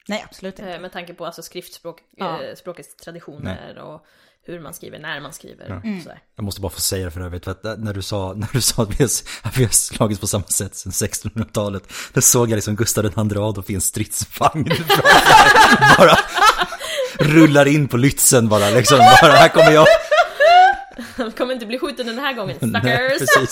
S1: Nej, absolut inte.
S3: Eh, Med tanke på alltså skriftspråk,
S1: Ja.
S3: eh, språkets traditioner och hur man skriver, när man skriver och sådär.
S2: Jag måste bara få säga det för övrigt, för att när du sa, när du sa att, vi har, att vi har slagits på samma sätt sedan 1600-talet, då såg jag liksom Gustav II Adolf i en stridsvagn. framför- bara rullar in på Lützen bara liksom, bara här kommer jag.
S3: Han kommer inte bli skjuten den här gången, stackars!
S2: Nej, precis.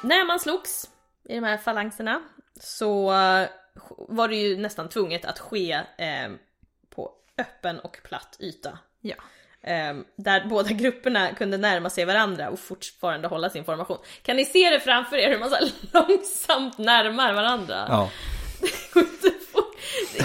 S3: När man slogs i de här falangserna så eh, var det ju nästan tvunget att ske eh, på öppen och platt yta.
S1: Ja.
S3: Eh, där båda grupperna kunde närma sig varandra och fortfarande hålla sin formation. Kan ni se det framför er hur man så här långsamt närmar varandra?
S2: Ja,
S3: går inte att få-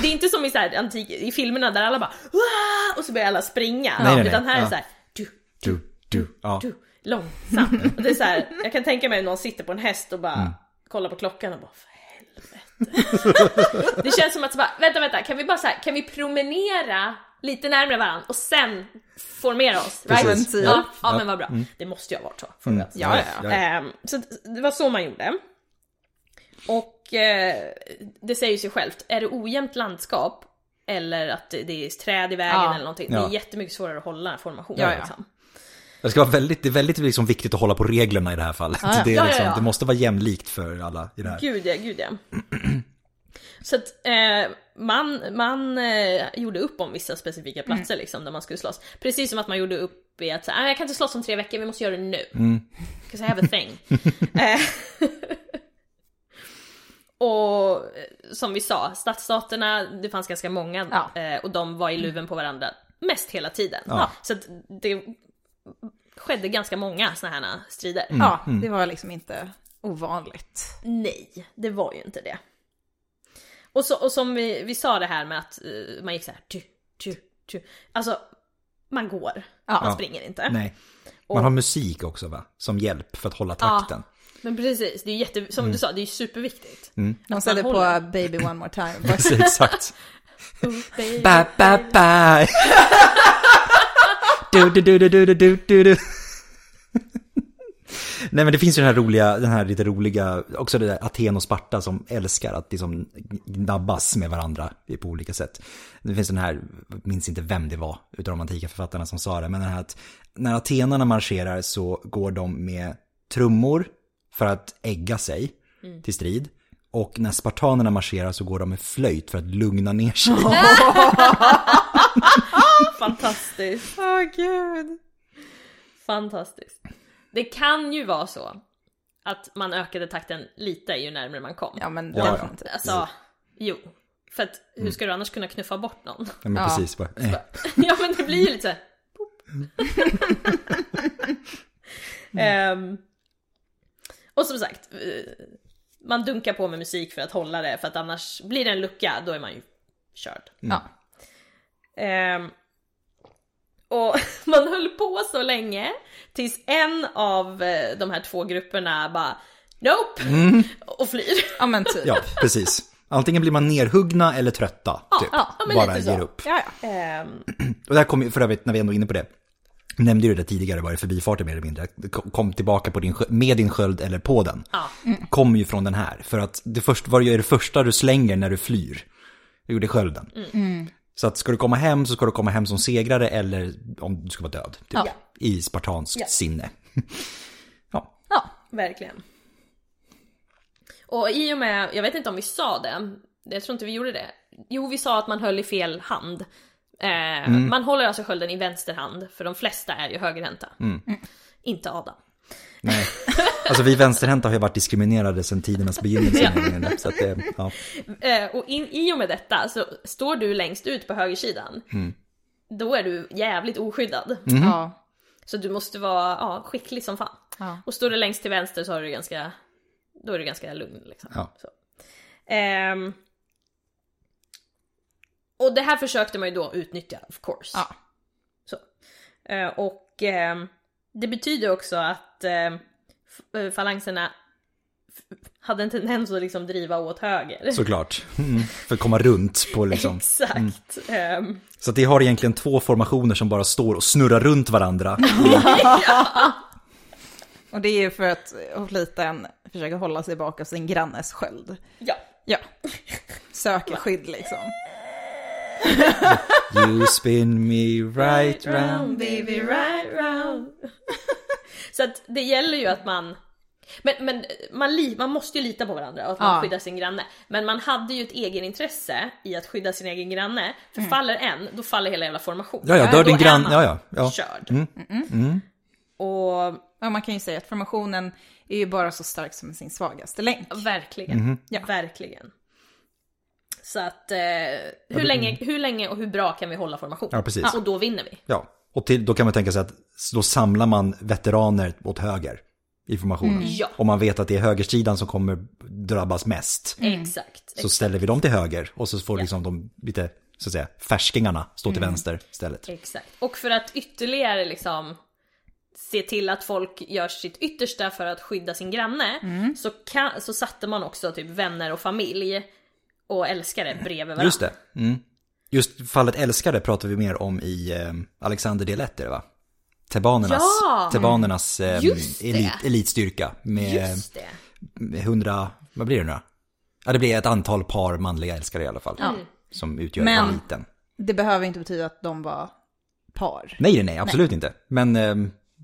S3: Det är inte som i, så här antik, i filmerna där alla bara "Wah!" och så börjar alla springa.
S2: Nej, nej, nej.
S3: Utan här är det
S2: Ja.
S3: så här, du,
S2: du, du, ja.
S3: du, långsamt. Och det är så här, jag kan tänka mig om någon sitter på en häst och bara
S2: Mm.
S3: kollar på klockan och bara för helvete. det känns som att så bara, vänta, vänta, kan vi bara så här, kan vi promenera lite närmare varandra och sen formera oss?
S2: Precis.
S3: Ja,
S2: Ja. Mm.
S3: ja, men vad bra. Det måste ju ha varit så. från början.
S1: Ja, ja,
S2: ja.
S3: Ehm, Så det var så man gjorde. Och eh, det säger sig självt, är det ojämnt landskap eller att det det är träd i vägen
S1: Ja.
S3: eller någonting, det
S2: Ja.
S3: är jättemycket svårare att hålla formationen.
S1: Ja, ja.
S3: Liksom.
S2: Det ska vara väldigt, det är väldigt liksom viktigt att hålla på reglerna i det här fallet.
S1: ja.
S2: Det, är
S3: Ja, ja,
S2: liksom,
S3: ja.
S2: det måste vara jämlikt för alla i det här.
S3: Gud ja, gud ja. Så att eh, man, man eh, gjorde upp om vissa specifika platser
S2: Mm.
S3: liksom där man skulle slåss. Precis som att man gjorde upp i att så, här, "Ah, jag kan inte slåss om tre veckor, vi måste göra det nu. 'Cause I have a thing. Eh, och eh, som vi sa, stadsstaterna, det fanns ganska många
S1: Ja.
S3: eh, och de var i luven på varandra mest hela tiden.
S2: Ja.
S3: Så att det skedde ganska många sådana här strider.
S2: Mm,
S1: ja, det var liksom inte ovanligt.
S3: Nej, det var ju inte det. Och, så, och som vi, vi sa det här med att eh, man gick så här, tu, tu, tu. Alltså, man går.
S1: Ja.
S3: Man springer inte.
S2: Nej. Man har musik också va? Som hjälp för att hålla takten.
S3: Men precis, det är ju jätte,
S1: Mm.
S3: som du sa, det är ju superviktigt.
S1: De ställde på
S3: håller.
S1: Baby One More Time.
S2: Precis, exakt.
S3: Baby.
S2: ba, ba, ba. du, du, du, du, du, du, du, du, du. Nej men det finns ju den här roliga, den här lite roliga, också det där Aten och Sparta som älskar att liksom gnabbas med varandra på olika sätt. Det finns den här, jag minns inte vem det var utav de antika författarna som sa det, men den här att när atenarna marscherar så går de med trummor för att ägga sig till strid. Och när spartanerna marscherar så går de med flöjt för att lugna ner sig.
S3: Fantastiskt,
S1: Åh gud.
S3: fantastiskt. Det kan ju vara så att man ökade takten lite ju närmare man kom.
S1: Ja Mm. men
S2: Ja, ja.
S1: definitivt.
S3: Alltså, jo. För att
S1: Mm.
S3: hur ska du annars kunna knuffa bort någon?
S2: Ja, men
S1: Ja.
S2: precis. Bara, eh.
S3: ja men det blir ju lite såhär... um, och som sagt, eh, man dunkar på med musik för att hålla det för att annars blir det en lucka, då är man ju körd.
S2: Mm.
S1: Ja.
S3: Ehm, och man höll på så länge tills en av eh, de här två grupperna bara Nope! Och flyr.
S1: ja men typ.
S2: Ja, precis. Antingen blir man nerhuggna eller trötta. Typ.
S3: ja, men
S2: Bara
S3: lite så.
S2: ger upp.
S1: Ja, ja.
S3: Ehm,
S2: Och där kom ju för övrigt, när vi ändå är inne på det. jag Nämnde ju det tidigare bara i förbifarten mer eller mindre. Kom- Kom tillbaka på din, skö- med din sköld eller på den.
S3: ja.
S2: Kommer ju från den här. För att det först, vad är det första du slänger när du flyr? Du gjorde skölden.
S3: Mm.
S2: Så att ska du komma hem så ska du komma hem som segrare eller om du ska vara död. Typ.
S1: Ja.
S2: I spartanskt
S3: Ja.
S2: sinne. ja.
S1: ja.
S3: Verkligen. Och i och med, jag vet inte om vi sa det, jag tror inte vi gjorde det. Jo, vi sa att man höll i fel hand. Eh, Man håller alltså skölden i vänster hand, för de flesta är ju högerhänta. Inte Adam.
S2: Nej. Alltså vi vänsterhänta har ju varit diskriminerade sedan tidernas begynnelse. nämligen. Så att det, ja.
S3: Eh, och in, i och med detta så står du längst ut på högersidan. Då är du jävligt oskyddad.
S1: Mm.
S2: Mm.
S1: ja.
S3: Så du måste vara ja, skicklig som fan.
S1: Ja.
S3: Och står du längst till vänster så har du ganska, då är du ganska lugn liksom.
S2: Ja.
S3: Så. Ehm. och det här försökte man ju då utnyttja of course.
S1: Ja.
S3: Så. Eh, och ehm, det betyder också att eh, f- eh, falangerna f- hade en tendens att liksom driva åt höger.
S2: Såklart. Mm. För att komma runt på liksom.
S3: Exakt. Ehm,
S2: Så att det har egentligen två formationer som bara står och snurrar runt varandra.
S1: Och det är ju för att hopliten försöker hålla sig bakom sin grannes sköld.
S3: ja.
S1: Ja. Söker skydd liksom.
S2: You spin me right round.
S3: baby right round. Så att det gäller ju att man men, men man, li, man måste ju lita på varandra och att man
S1: Ja.
S3: skyddar sin granne. Men man hade ju ett egenintresse i att skydda sin egen granne. För faller en, då faller hela jävla formationen.
S2: Ja, ja, dör
S3: Då
S2: din
S3: är
S2: granne.
S3: man
S2: Ja, ja. ja.
S3: Körd.
S2: Mm.
S3: Och
S1: Ja, man kan ju säga att formationen är ju bara så stark som sin svagaste länk.
S3: verkligen,
S2: Mm-hmm.
S1: Ja.
S3: verkligen. Så att eh, hur, länge, hur länge och hur bra kan vi hålla formation?
S2: mm. Ja, precis.
S3: Och då vinner vi.
S2: ja. Och till, då kan man tänka sig att då samlar man veteraner åt höger i formationen.
S3: Ja.
S2: Om man vet att det är högersidan som kommer drabbas mest.
S3: Exakt.
S2: Så ställer vi dem till höger och så får liksom de lite, så att säga, färskingarna stå till vänster istället.
S3: Exakt. Och för att ytterligare liksom se till att folk gör sitt yttersta för att skydda sin granne
S2: Mm.
S3: så, kan, så satte man också typ vänner och familj och älskare bredvid varandra.
S2: Just det. Mm. Just fallet älskare pratar vi mer om i eh, Alexander Delett är det va? Tebanernas,
S3: Ja! Mm.
S2: tebanernas eh,
S3: Just det.
S2: elit, elitstyrka med,
S3: Just det.
S2: med 100, vad blir det nu då? Ja, det blir ett antal par manliga älskare i alla fall.
S1: Ja.
S2: Som utgör
S1: Men-
S2: eliten.
S1: Det behöver inte betyda att de var par,
S2: Nej, nej, nej, absolut inte. Men... Eh,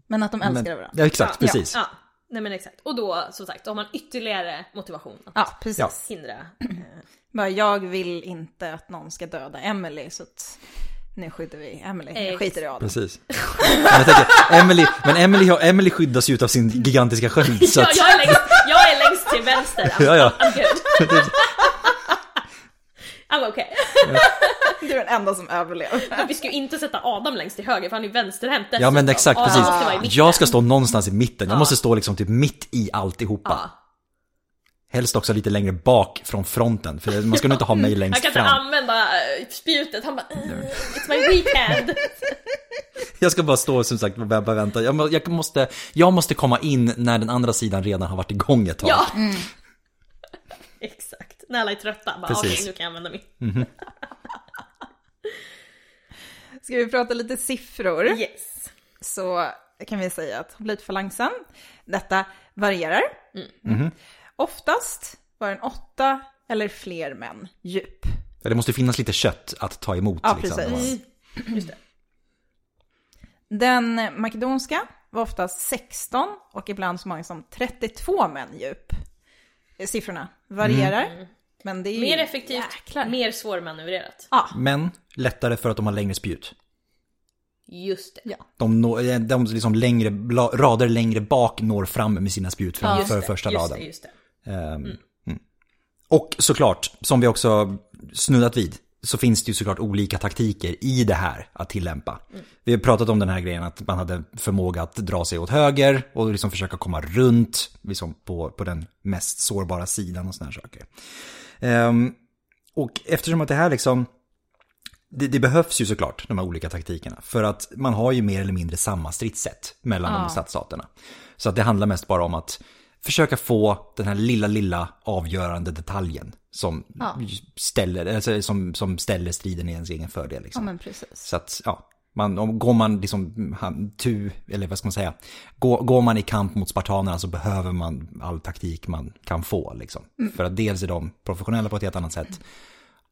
S1: men att de älskade
S2: men
S1: varandra.
S2: ja, exakt,
S3: Ja,
S2: precis.
S3: Ja, nej men exakt. Och då som sagt, då har man ytterligare motivation att
S1: Ja, precis.
S2: Ja.
S3: hindra.
S1: Bara, jag vill inte att någon ska döda Emily så att nu skyddar vi Emily, nu
S3: Ex-
S1: skiter i Adam.
S2: Precis. Men, jag tänker, Emily, men Emily, har- Emily skyddas ju av sin gigantiska sköld. Så
S3: Jag,
S2: att,
S3: jag, är längst, jag är längst till vänster. I'm,
S2: Ja, ja.
S3: I'm good. I'm okay.
S1: Du är den enda som överlever.
S3: Men vi ska ju inte sätta Adam längst till höger för han är vänsterhänt
S2: ja men exakt,
S3: Adam
S2: precis.
S3: måste vara i mitten.
S2: Jag ska stå någonstans i mitten. Jag
S3: Ja.
S2: måste stå liksom typ mitt i alltihopa.
S3: Ja.
S2: Helst också lite längre bak från fronten, för man ska nog inte ha mig
S3: Han
S2: längst
S3: kan inte
S2: fram.
S3: använda eh, spjutet, han bara "Eh, It's my weekend.
S2: Jag ska bara stå som sagt och vänta, vänta. Jag, må- jag, måste, jag måste komma in när den andra sidan redan har varit igång ett tag.
S3: Ja. Exakt. När alla är trötta, bara okej
S2: Precis.
S3: nu kan jag använda mitt.
S1: Ska vi prata lite siffror?
S2: Mm.
S3: Yes.
S1: så kan vi säga att hoplitfalangen, detta varierar. Oftast var den åtta eller fler män djup.
S2: Det måste finnas lite kött att ta emot.
S1: Ja,
S2: liksom.
S1: precis.
S3: Mm.
S1: Den makedonska var oftast 16 och ibland så många som 32 män djup. Siffrorna varierar, men det är ju...
S3: Mm. Mer effektivt,
S1: Jäklar.
S3: mer svårmanövrerat.
S1: Ja,
S2: Men lättare för att de har längre spjut.
S3: Just det.
S1: Ja.
S2: De, når, de liksom längre, bla- rader längre bak når fram med sina spjut framför
S3: Just det,
S2: första
S3: just
S2: raden.
S3: Det, just det.
S2: Ehm, mm. Och såklart, som vi också snuddat vid, så finns det ju såklart olika taktiker i det här att tillämpa. Vi har pratat om den här grejen att man hade förmåga att dra sig åt höger och liksom försöka komma runt liksom på, på den mest sårbara sidan och såna här saker. Ehm, och eftersom att det här liksom, det, det behövs ju såklart de här olika taktikerna. För att man har ju mer eller mindre samma stridssätt mellan de stadsstaterna. Så att det handlar mest bara om att försöka få den här lilla, lilla avgörande detaljen som, ställer, alltså, som, som ställer striden i ens egen fördel.
S1: ja,
S2: Liksom.
S1: men precis.
S2: Så att, ja. Man, om, går man liksom, han, tu, eller vad ska man säga, går, går man i kamp mot spartanerna så behöver man all taktik man kan få. Liksom. För att dels är de professionella på ett helt annat sätt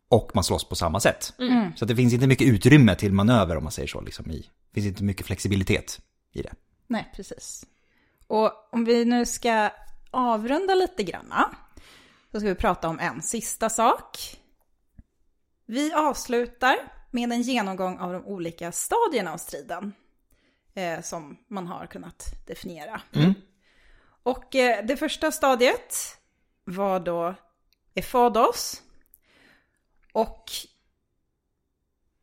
S2: och man slåss på samma sätt. Så att det finns inte mycket utrymme till manöver om man säger så. Liksom, i, det finns inte mycket flexibilitet i det.
S1: Nej, precis. Och om vi nu ska avrunda lite granna, så ska vi prata om en sista sak. Vi avslutar med en genomgång av de olika stadierna av striden eh, som man har kunnat definiera. Och eh, det första stadiet var då efados. Och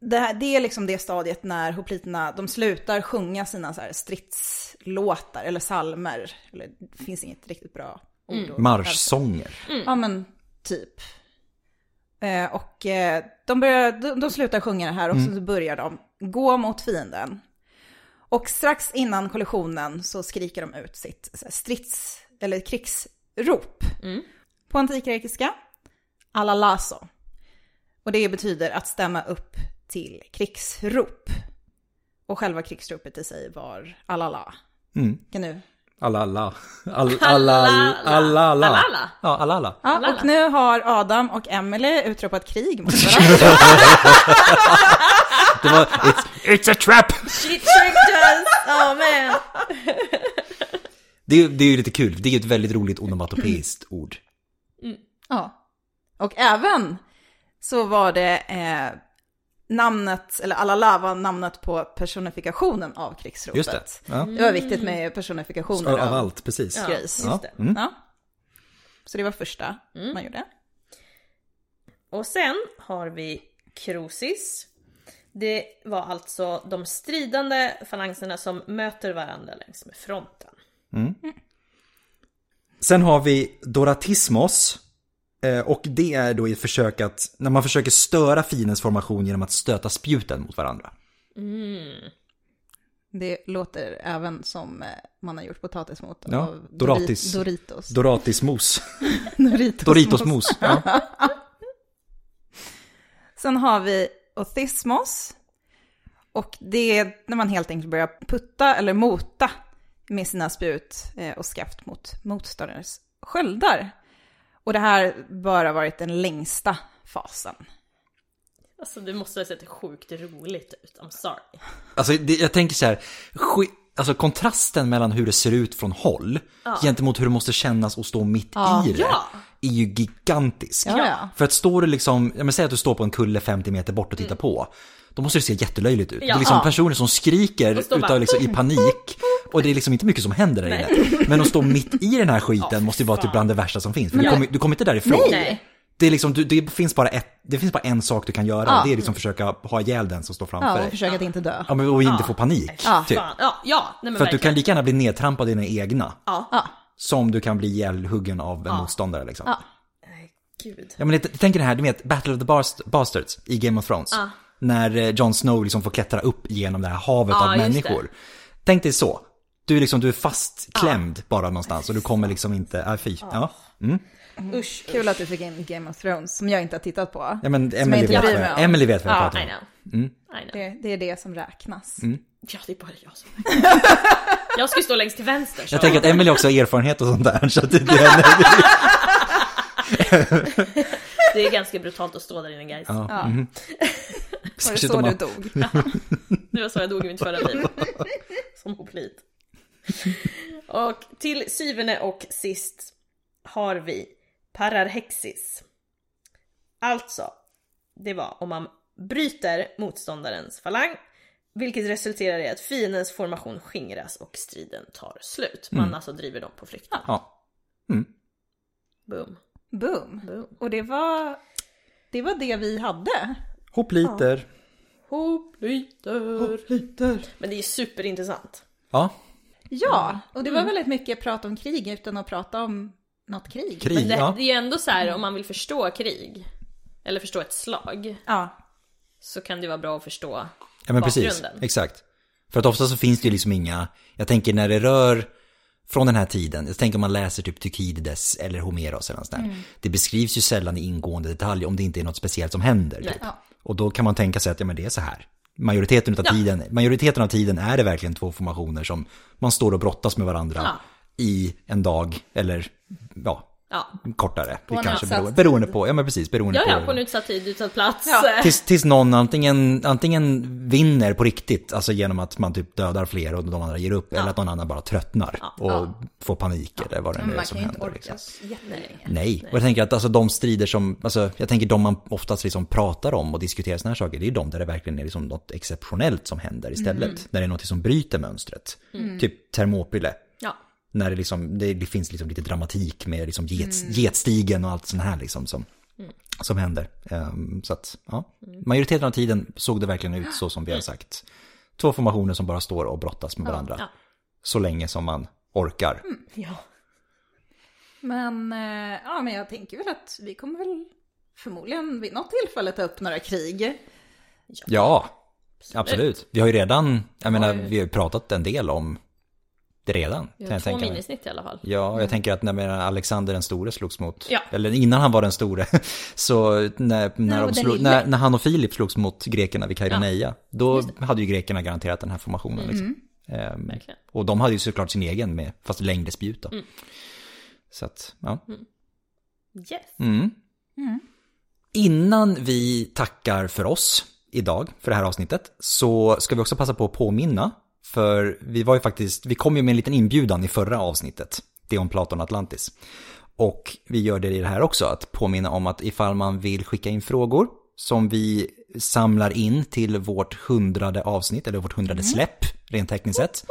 S1: det, här, det är liksom det stadiet när hopliterna, de slutar sjunga sina så här stridslåtar eller salmer. Eller, det finns inget riktigt bra ord. att
S2: Mm. Marschsånger.
S1: Ja men typ. Eh, och eh, de, börjar, de, de slutar sjunga det här och så börjar de gå mot fienden. Och strax innan kollisionen så skriker de ut sitt så här, strids eller krigsrop. På antikgrekiska, alalaso. Och det betyder att stämma upp till krigsrop. Och själva krigsropet i sig var alala.
S2: Mm.
S1: Kan du
S2: Alla, alla. All, alla, alla, alla.
S3: Alla.
S2: Ja, alla, alla.
S1: Ja,
S3: Alla.
S1: och nu har Adam och Emily utropat krig mot varandra.
S2: Det var, it's, it's a trap!
S3: Shit tricked us! Oh man!
S2: Det, är- det är ju lite kul, det är ju ett väldigt roligt onomatopeiskt ord.
S1: ja. Och även så var det eh, namnet, eller Alala var namnet på personifikationen av krigsropet.
S2: Just det. Ja.
S1: Det var viktigt med personifikationer
S2: Av, av allt, precis.
S1: av grejs.
S2: Ja.
S3: Just det.
S2: Mm.
S1: Ja. Så det var första man gjorde.
S3: Och sen har vi Krosis. Det var alltså de stridande falangerna som möter varandra längs med fronten.
S2: Sen har vi Doratismos. eh, Och det är då i ett försök att, när man försöker störa fiendens formation genom att stöta spjuten mot varandra.
S1: Det låter även som eh, man har gjort potatismot
S2: Ja,
S1: av Dori-
S2: Doratis.
S1: Doritos.
S2: Doratismos.
S1: Doritos.
S2: Doritosmos. Ja.
S1: Sen har vi othismos. Och det är när man helt enkelt börjar putta eller mota med sina spjut eh, och skaft mot motståndarens sköldar. Och det här bör ha varit den längsta fasen.
S3: Alltså det måste ha sett sjukt roligt ut, I'm sorry.
S2: Alltså det, jag tänker så här, sk- alltså kontrasten mellan hur det ser ut från håll gentemot hur det måste kännas att stå mitt i det.
S3: Ja.
S2: är ju gigantisk.
S1: Ja, ja.
S2: För att står du liksom, ja, men säg att du står på en kulle 50 meter bort och tittar på. Då måste det se jättelöjligt ut. Det är
S3: Ja.
S2: liksom
S3: Ja.
S2: personer som skriker
S3: Och står bara-
S2: utav, liksom, i panik. Och det är liksom inte mycket som händer där inne. Men att stå mitt i den här skiten måste ju vara typ bland det värsta som finns. För du, kommer, du kommer inte därifrån.
S3: Nej.
S2: Det, är liksom, du, det, finns bara ett, det finns bara en sak du kan göra.
S1: Ja.
S2: Det är liksom försöka ha ihjäl den som står framför
S1: Ja, och
S2: dig.
S1: försöka att inte dö.
S2: Ja, men, och inte få panik.
S1: Ja.
S2: Typ.
S3: Fan. Ja, ja. Nej, men
S2: För att du
S3: verkligen.
S2: kan lika gärna bli nedtrampad i dina egna.
S3: Ja.
S1: Ja,
S2: Som du kan bli ihjälhuggen av en motståndare liksom.
S1: ja.
S3: Nej, gud.
S2: Ja men det- tänk dig det här, du vet Battle of the Bast- Bastards i Game of Thrones. När eh, Jon Snow liksom får klättra upp genom det här havet
S3: Ja,
S2: av
S3: just
S2: människor. Tänk dig så. Du är liksom, du är fastklämd bara någonstans och du kommer liksom inte, äh, fy. Ja.
S3: Usch.
S1: Mm. Kul att du fick in Game of Thrones, som jag inte har tittat på.
S2: ja men
S1: Som jag
S2: Emily
S1: inte
S2: vet,
S1: bryr
S2: vad-
S1: mig om.
S2: Emily vet vad jag
S3: Ja, I
S2: pratar om.
S3: know. I know.
S1: Det, det är det som räknas.
S2: Mm.
S3: Ja, det är bara jag som... jag ska ju stå längst till vänster. Så.
S2: Jag tänker att Emily också har erfarenhet och sånt där. Så att det, det, är henne.
S3: Det är ganska brutalt att stå där inne guys.
S2: ja.
S1: Ja.
S2: Mm.
S1: Var det
S2: Särskilt
S1: så
S2: om
S1: du
S2: man,
S1: dog?
S3: Det var så jag dog i mitt förra liv. Som hoplit. Och till syvende och sist har vi pararhexis. Alltså, det var om man bryter motståndarens falang, vilket resulterar i att fiendens formation skingras och striden tar slut. Man
S2: Mm.
S3: alltså driver dem på flykt.
S2: ja.
S3: Boom.
S1: Boom.
S3: Boom.
S1: Och det var, det var det vi hade.
S2: Hopliter.
S3: Hopliter.
S2: Hopliter.
S3: Men det är ju superintressant.
S2: Ja,
S1: Ja, Mm. och det var väldigt mycket prat om krig utan att prata om något krig.
S2: krig.
S3: Men det,
S2: ja.
S3: det är ju ändå så här om man vill förstå krig, eller förstå ett slag,
S1: Ja,
S3: så kan det vara bra att förstå
S2: Ja men precis,
S3: bakgrunden.
S2: exakt. För att ofta så finns det ju liksom inga, jag tänker när det rör från den här tiden, jag tänker om man läser typ Tukidides eller Homeros eller något sånt där.
S3: Mm.
S2: Det beskrivs ju sällan i ingående detalj om det inte är något speciellt som händer. Typ.
S1: Ja.
S2: Och då kan man tänka sig att ja, men det är så här. Majoriteten av, tiden, majoriteten av tiden är det verkligen två formationer som man står och brottas med varandra i en dag eller ja,
S3: Ja.
S2: kortare. Det
S1: en
S2: kanske
S1: utsatt
S2: beror, beroende på, ja men precis, beroende
S3: Ja,
S2: på.
S3: ja, på en utsatt tid, utsatt plats. Eh,
S1: Ja.
S2: Tills, tills någon antingen, antingen vinner på riktigt, alltså genom att man typ dödar fler och de andra ger upp, eller att någon annan bara tröttnar och får panik eller vad det nu
S1: men
S2: är
S1: man
S2: som
S1: kan ju inte
S2: händer.
S1: orka
S2: liksom.
S1: jättelänge.
S2: Nej, och jag tänker att alltså, de strider som, alltså, jag tänker de man oftast liksom pratar om och diskuterar sådana här saker, det är ju de där det verkligen är liksom något exceptionellt som händer istället.
S1: Mm.
S2: När det är något som bryter mönstret. Typ Thermopyle,
S3: Ja.
S2: när det, liksom, det, det finns liksom lite dramatik med liksom get,
S3: Mm.
S2: getstigen och allt sånt här liksom som, som händer. Ehm, så att, ja. Majoriteten av tiden såg det verkligen ut så som vi har sagt. Två formationer som bara står och brottas med varandra.
S3: Mm. ja. Mm,
S2: Så länge som man orkar.
S3: ja.
S1: Men, eh, ja, men jag tänker väl att vi kommer väl förmodligen vid något tillfälle ta upp några krig.
S2: Ja, absolut. Vi har ju redan, jag menar, vi har ju pratat en del om det redan.
S3: Vi
S2: kan
S3: har
S2: jag
S3: två
S2: tänka mig.
S3: minisnitt i alla fall.
S2: Ja, jag tänker att när menar, Alexander den store slogs mot,
S3: Ja.
S2: eller innan han var den store, så när, när,
S1: och
S2: de
S1: den
S2: slog,
S1: lille.
S2: när, när han och Filip slogs mot grekerna vid Kaironeia, då hade ju grekerna garanterat den här formationen. Liksom. Ehm,
S3: Verkligen.
S2: och de hade ju såklart sin egen med, fast längre spjut då. Så att, ja.
S3: Yes.
S2: Mm.
S3: Mm.
S2: Innan vi tackar för oss idag, för det här avsnittet, så ska vi också passa på att påminna, för vi var ju faktiskt, vi kom ju med en liten inbjudan i förra avsnittet, det om Platon Atlantis. Och vi gör det i det här också, att påminna om att ifall man vill skicka in frågor som vi samlar in till vårt hundrade avsnitt, eller vårt hundrade
S3: Mm.
S2: släpp, rent tekniskt sett.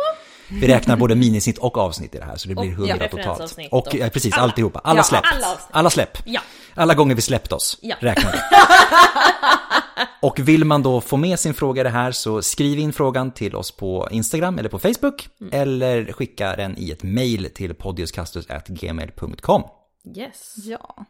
S2: Vi räknar både minisnitt och avsnitt i det här, så det blir
S3: Och,
S2: hundra
S3: ja,
S2: totalt.
S3: referensavsnitt
S2: Och
S3: och-
S2: eh, precis,
S3: alla.
S2: alltihopa. Alla
S1: Ja,
S2: släpp.
S3: alla avsnitt.
S2: Alla släpp.
S3: Ja.
S2: Alla gånger vi släppt oss
S3: Ja.
S2: räknar vi. Och vill man då få med sin fråga i det här så skriv in frågan till oss på Instagram eller på Facebook
S3: Mm.
S2: eller skicka den i ett mail till podiuskastus.gmail.com.
S3: Yes.
S1: Ja.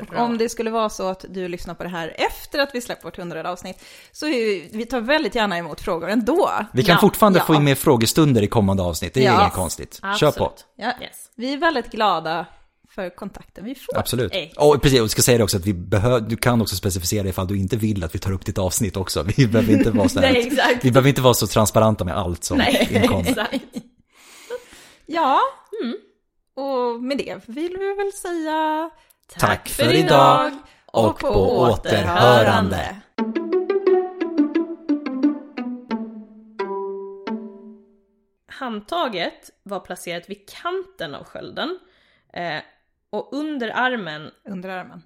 S1: Och
S3: Bra.
S1: om det skulle vara så att du lyssnar på det här efter att vi släppt vårt hundrade avsnitt, så är vi, vi tar väldigt gärna emot frågor ändå.
S2: Vi kan
S3: Ja,
S2: fortfarande
S1: ja.
S2: få in mer frågestunder i kommande avsnitt, det är
S1: Ja.
S2: inget konstigt. Kör på.
S3: Absolut.
S1: Ja.
S3: Yes.
S1: Vi är väldigt glada för kontakten vi får.
S2: Absolut.
S3: Ej.
S2: Och precis, och jag ska säga det också att vi behöver, du kan också specificera ifall du inte vill att vi tar upp ditt avsnitt också. Vi behöver inte vara så, här-
S3: Nej, exakt.
S2: vi behöver inte vara så transparenta med allt som
S3: Nej,
S2: inkommer.
S3: exakt.
S1: Ja, Mm. och med det vill vi väl säga
S2: Tack för idag och på återhörande.
S3: Handtaget var placerat vid kanten av skölden eh,
S4: Och under armen
S3: Underarmen.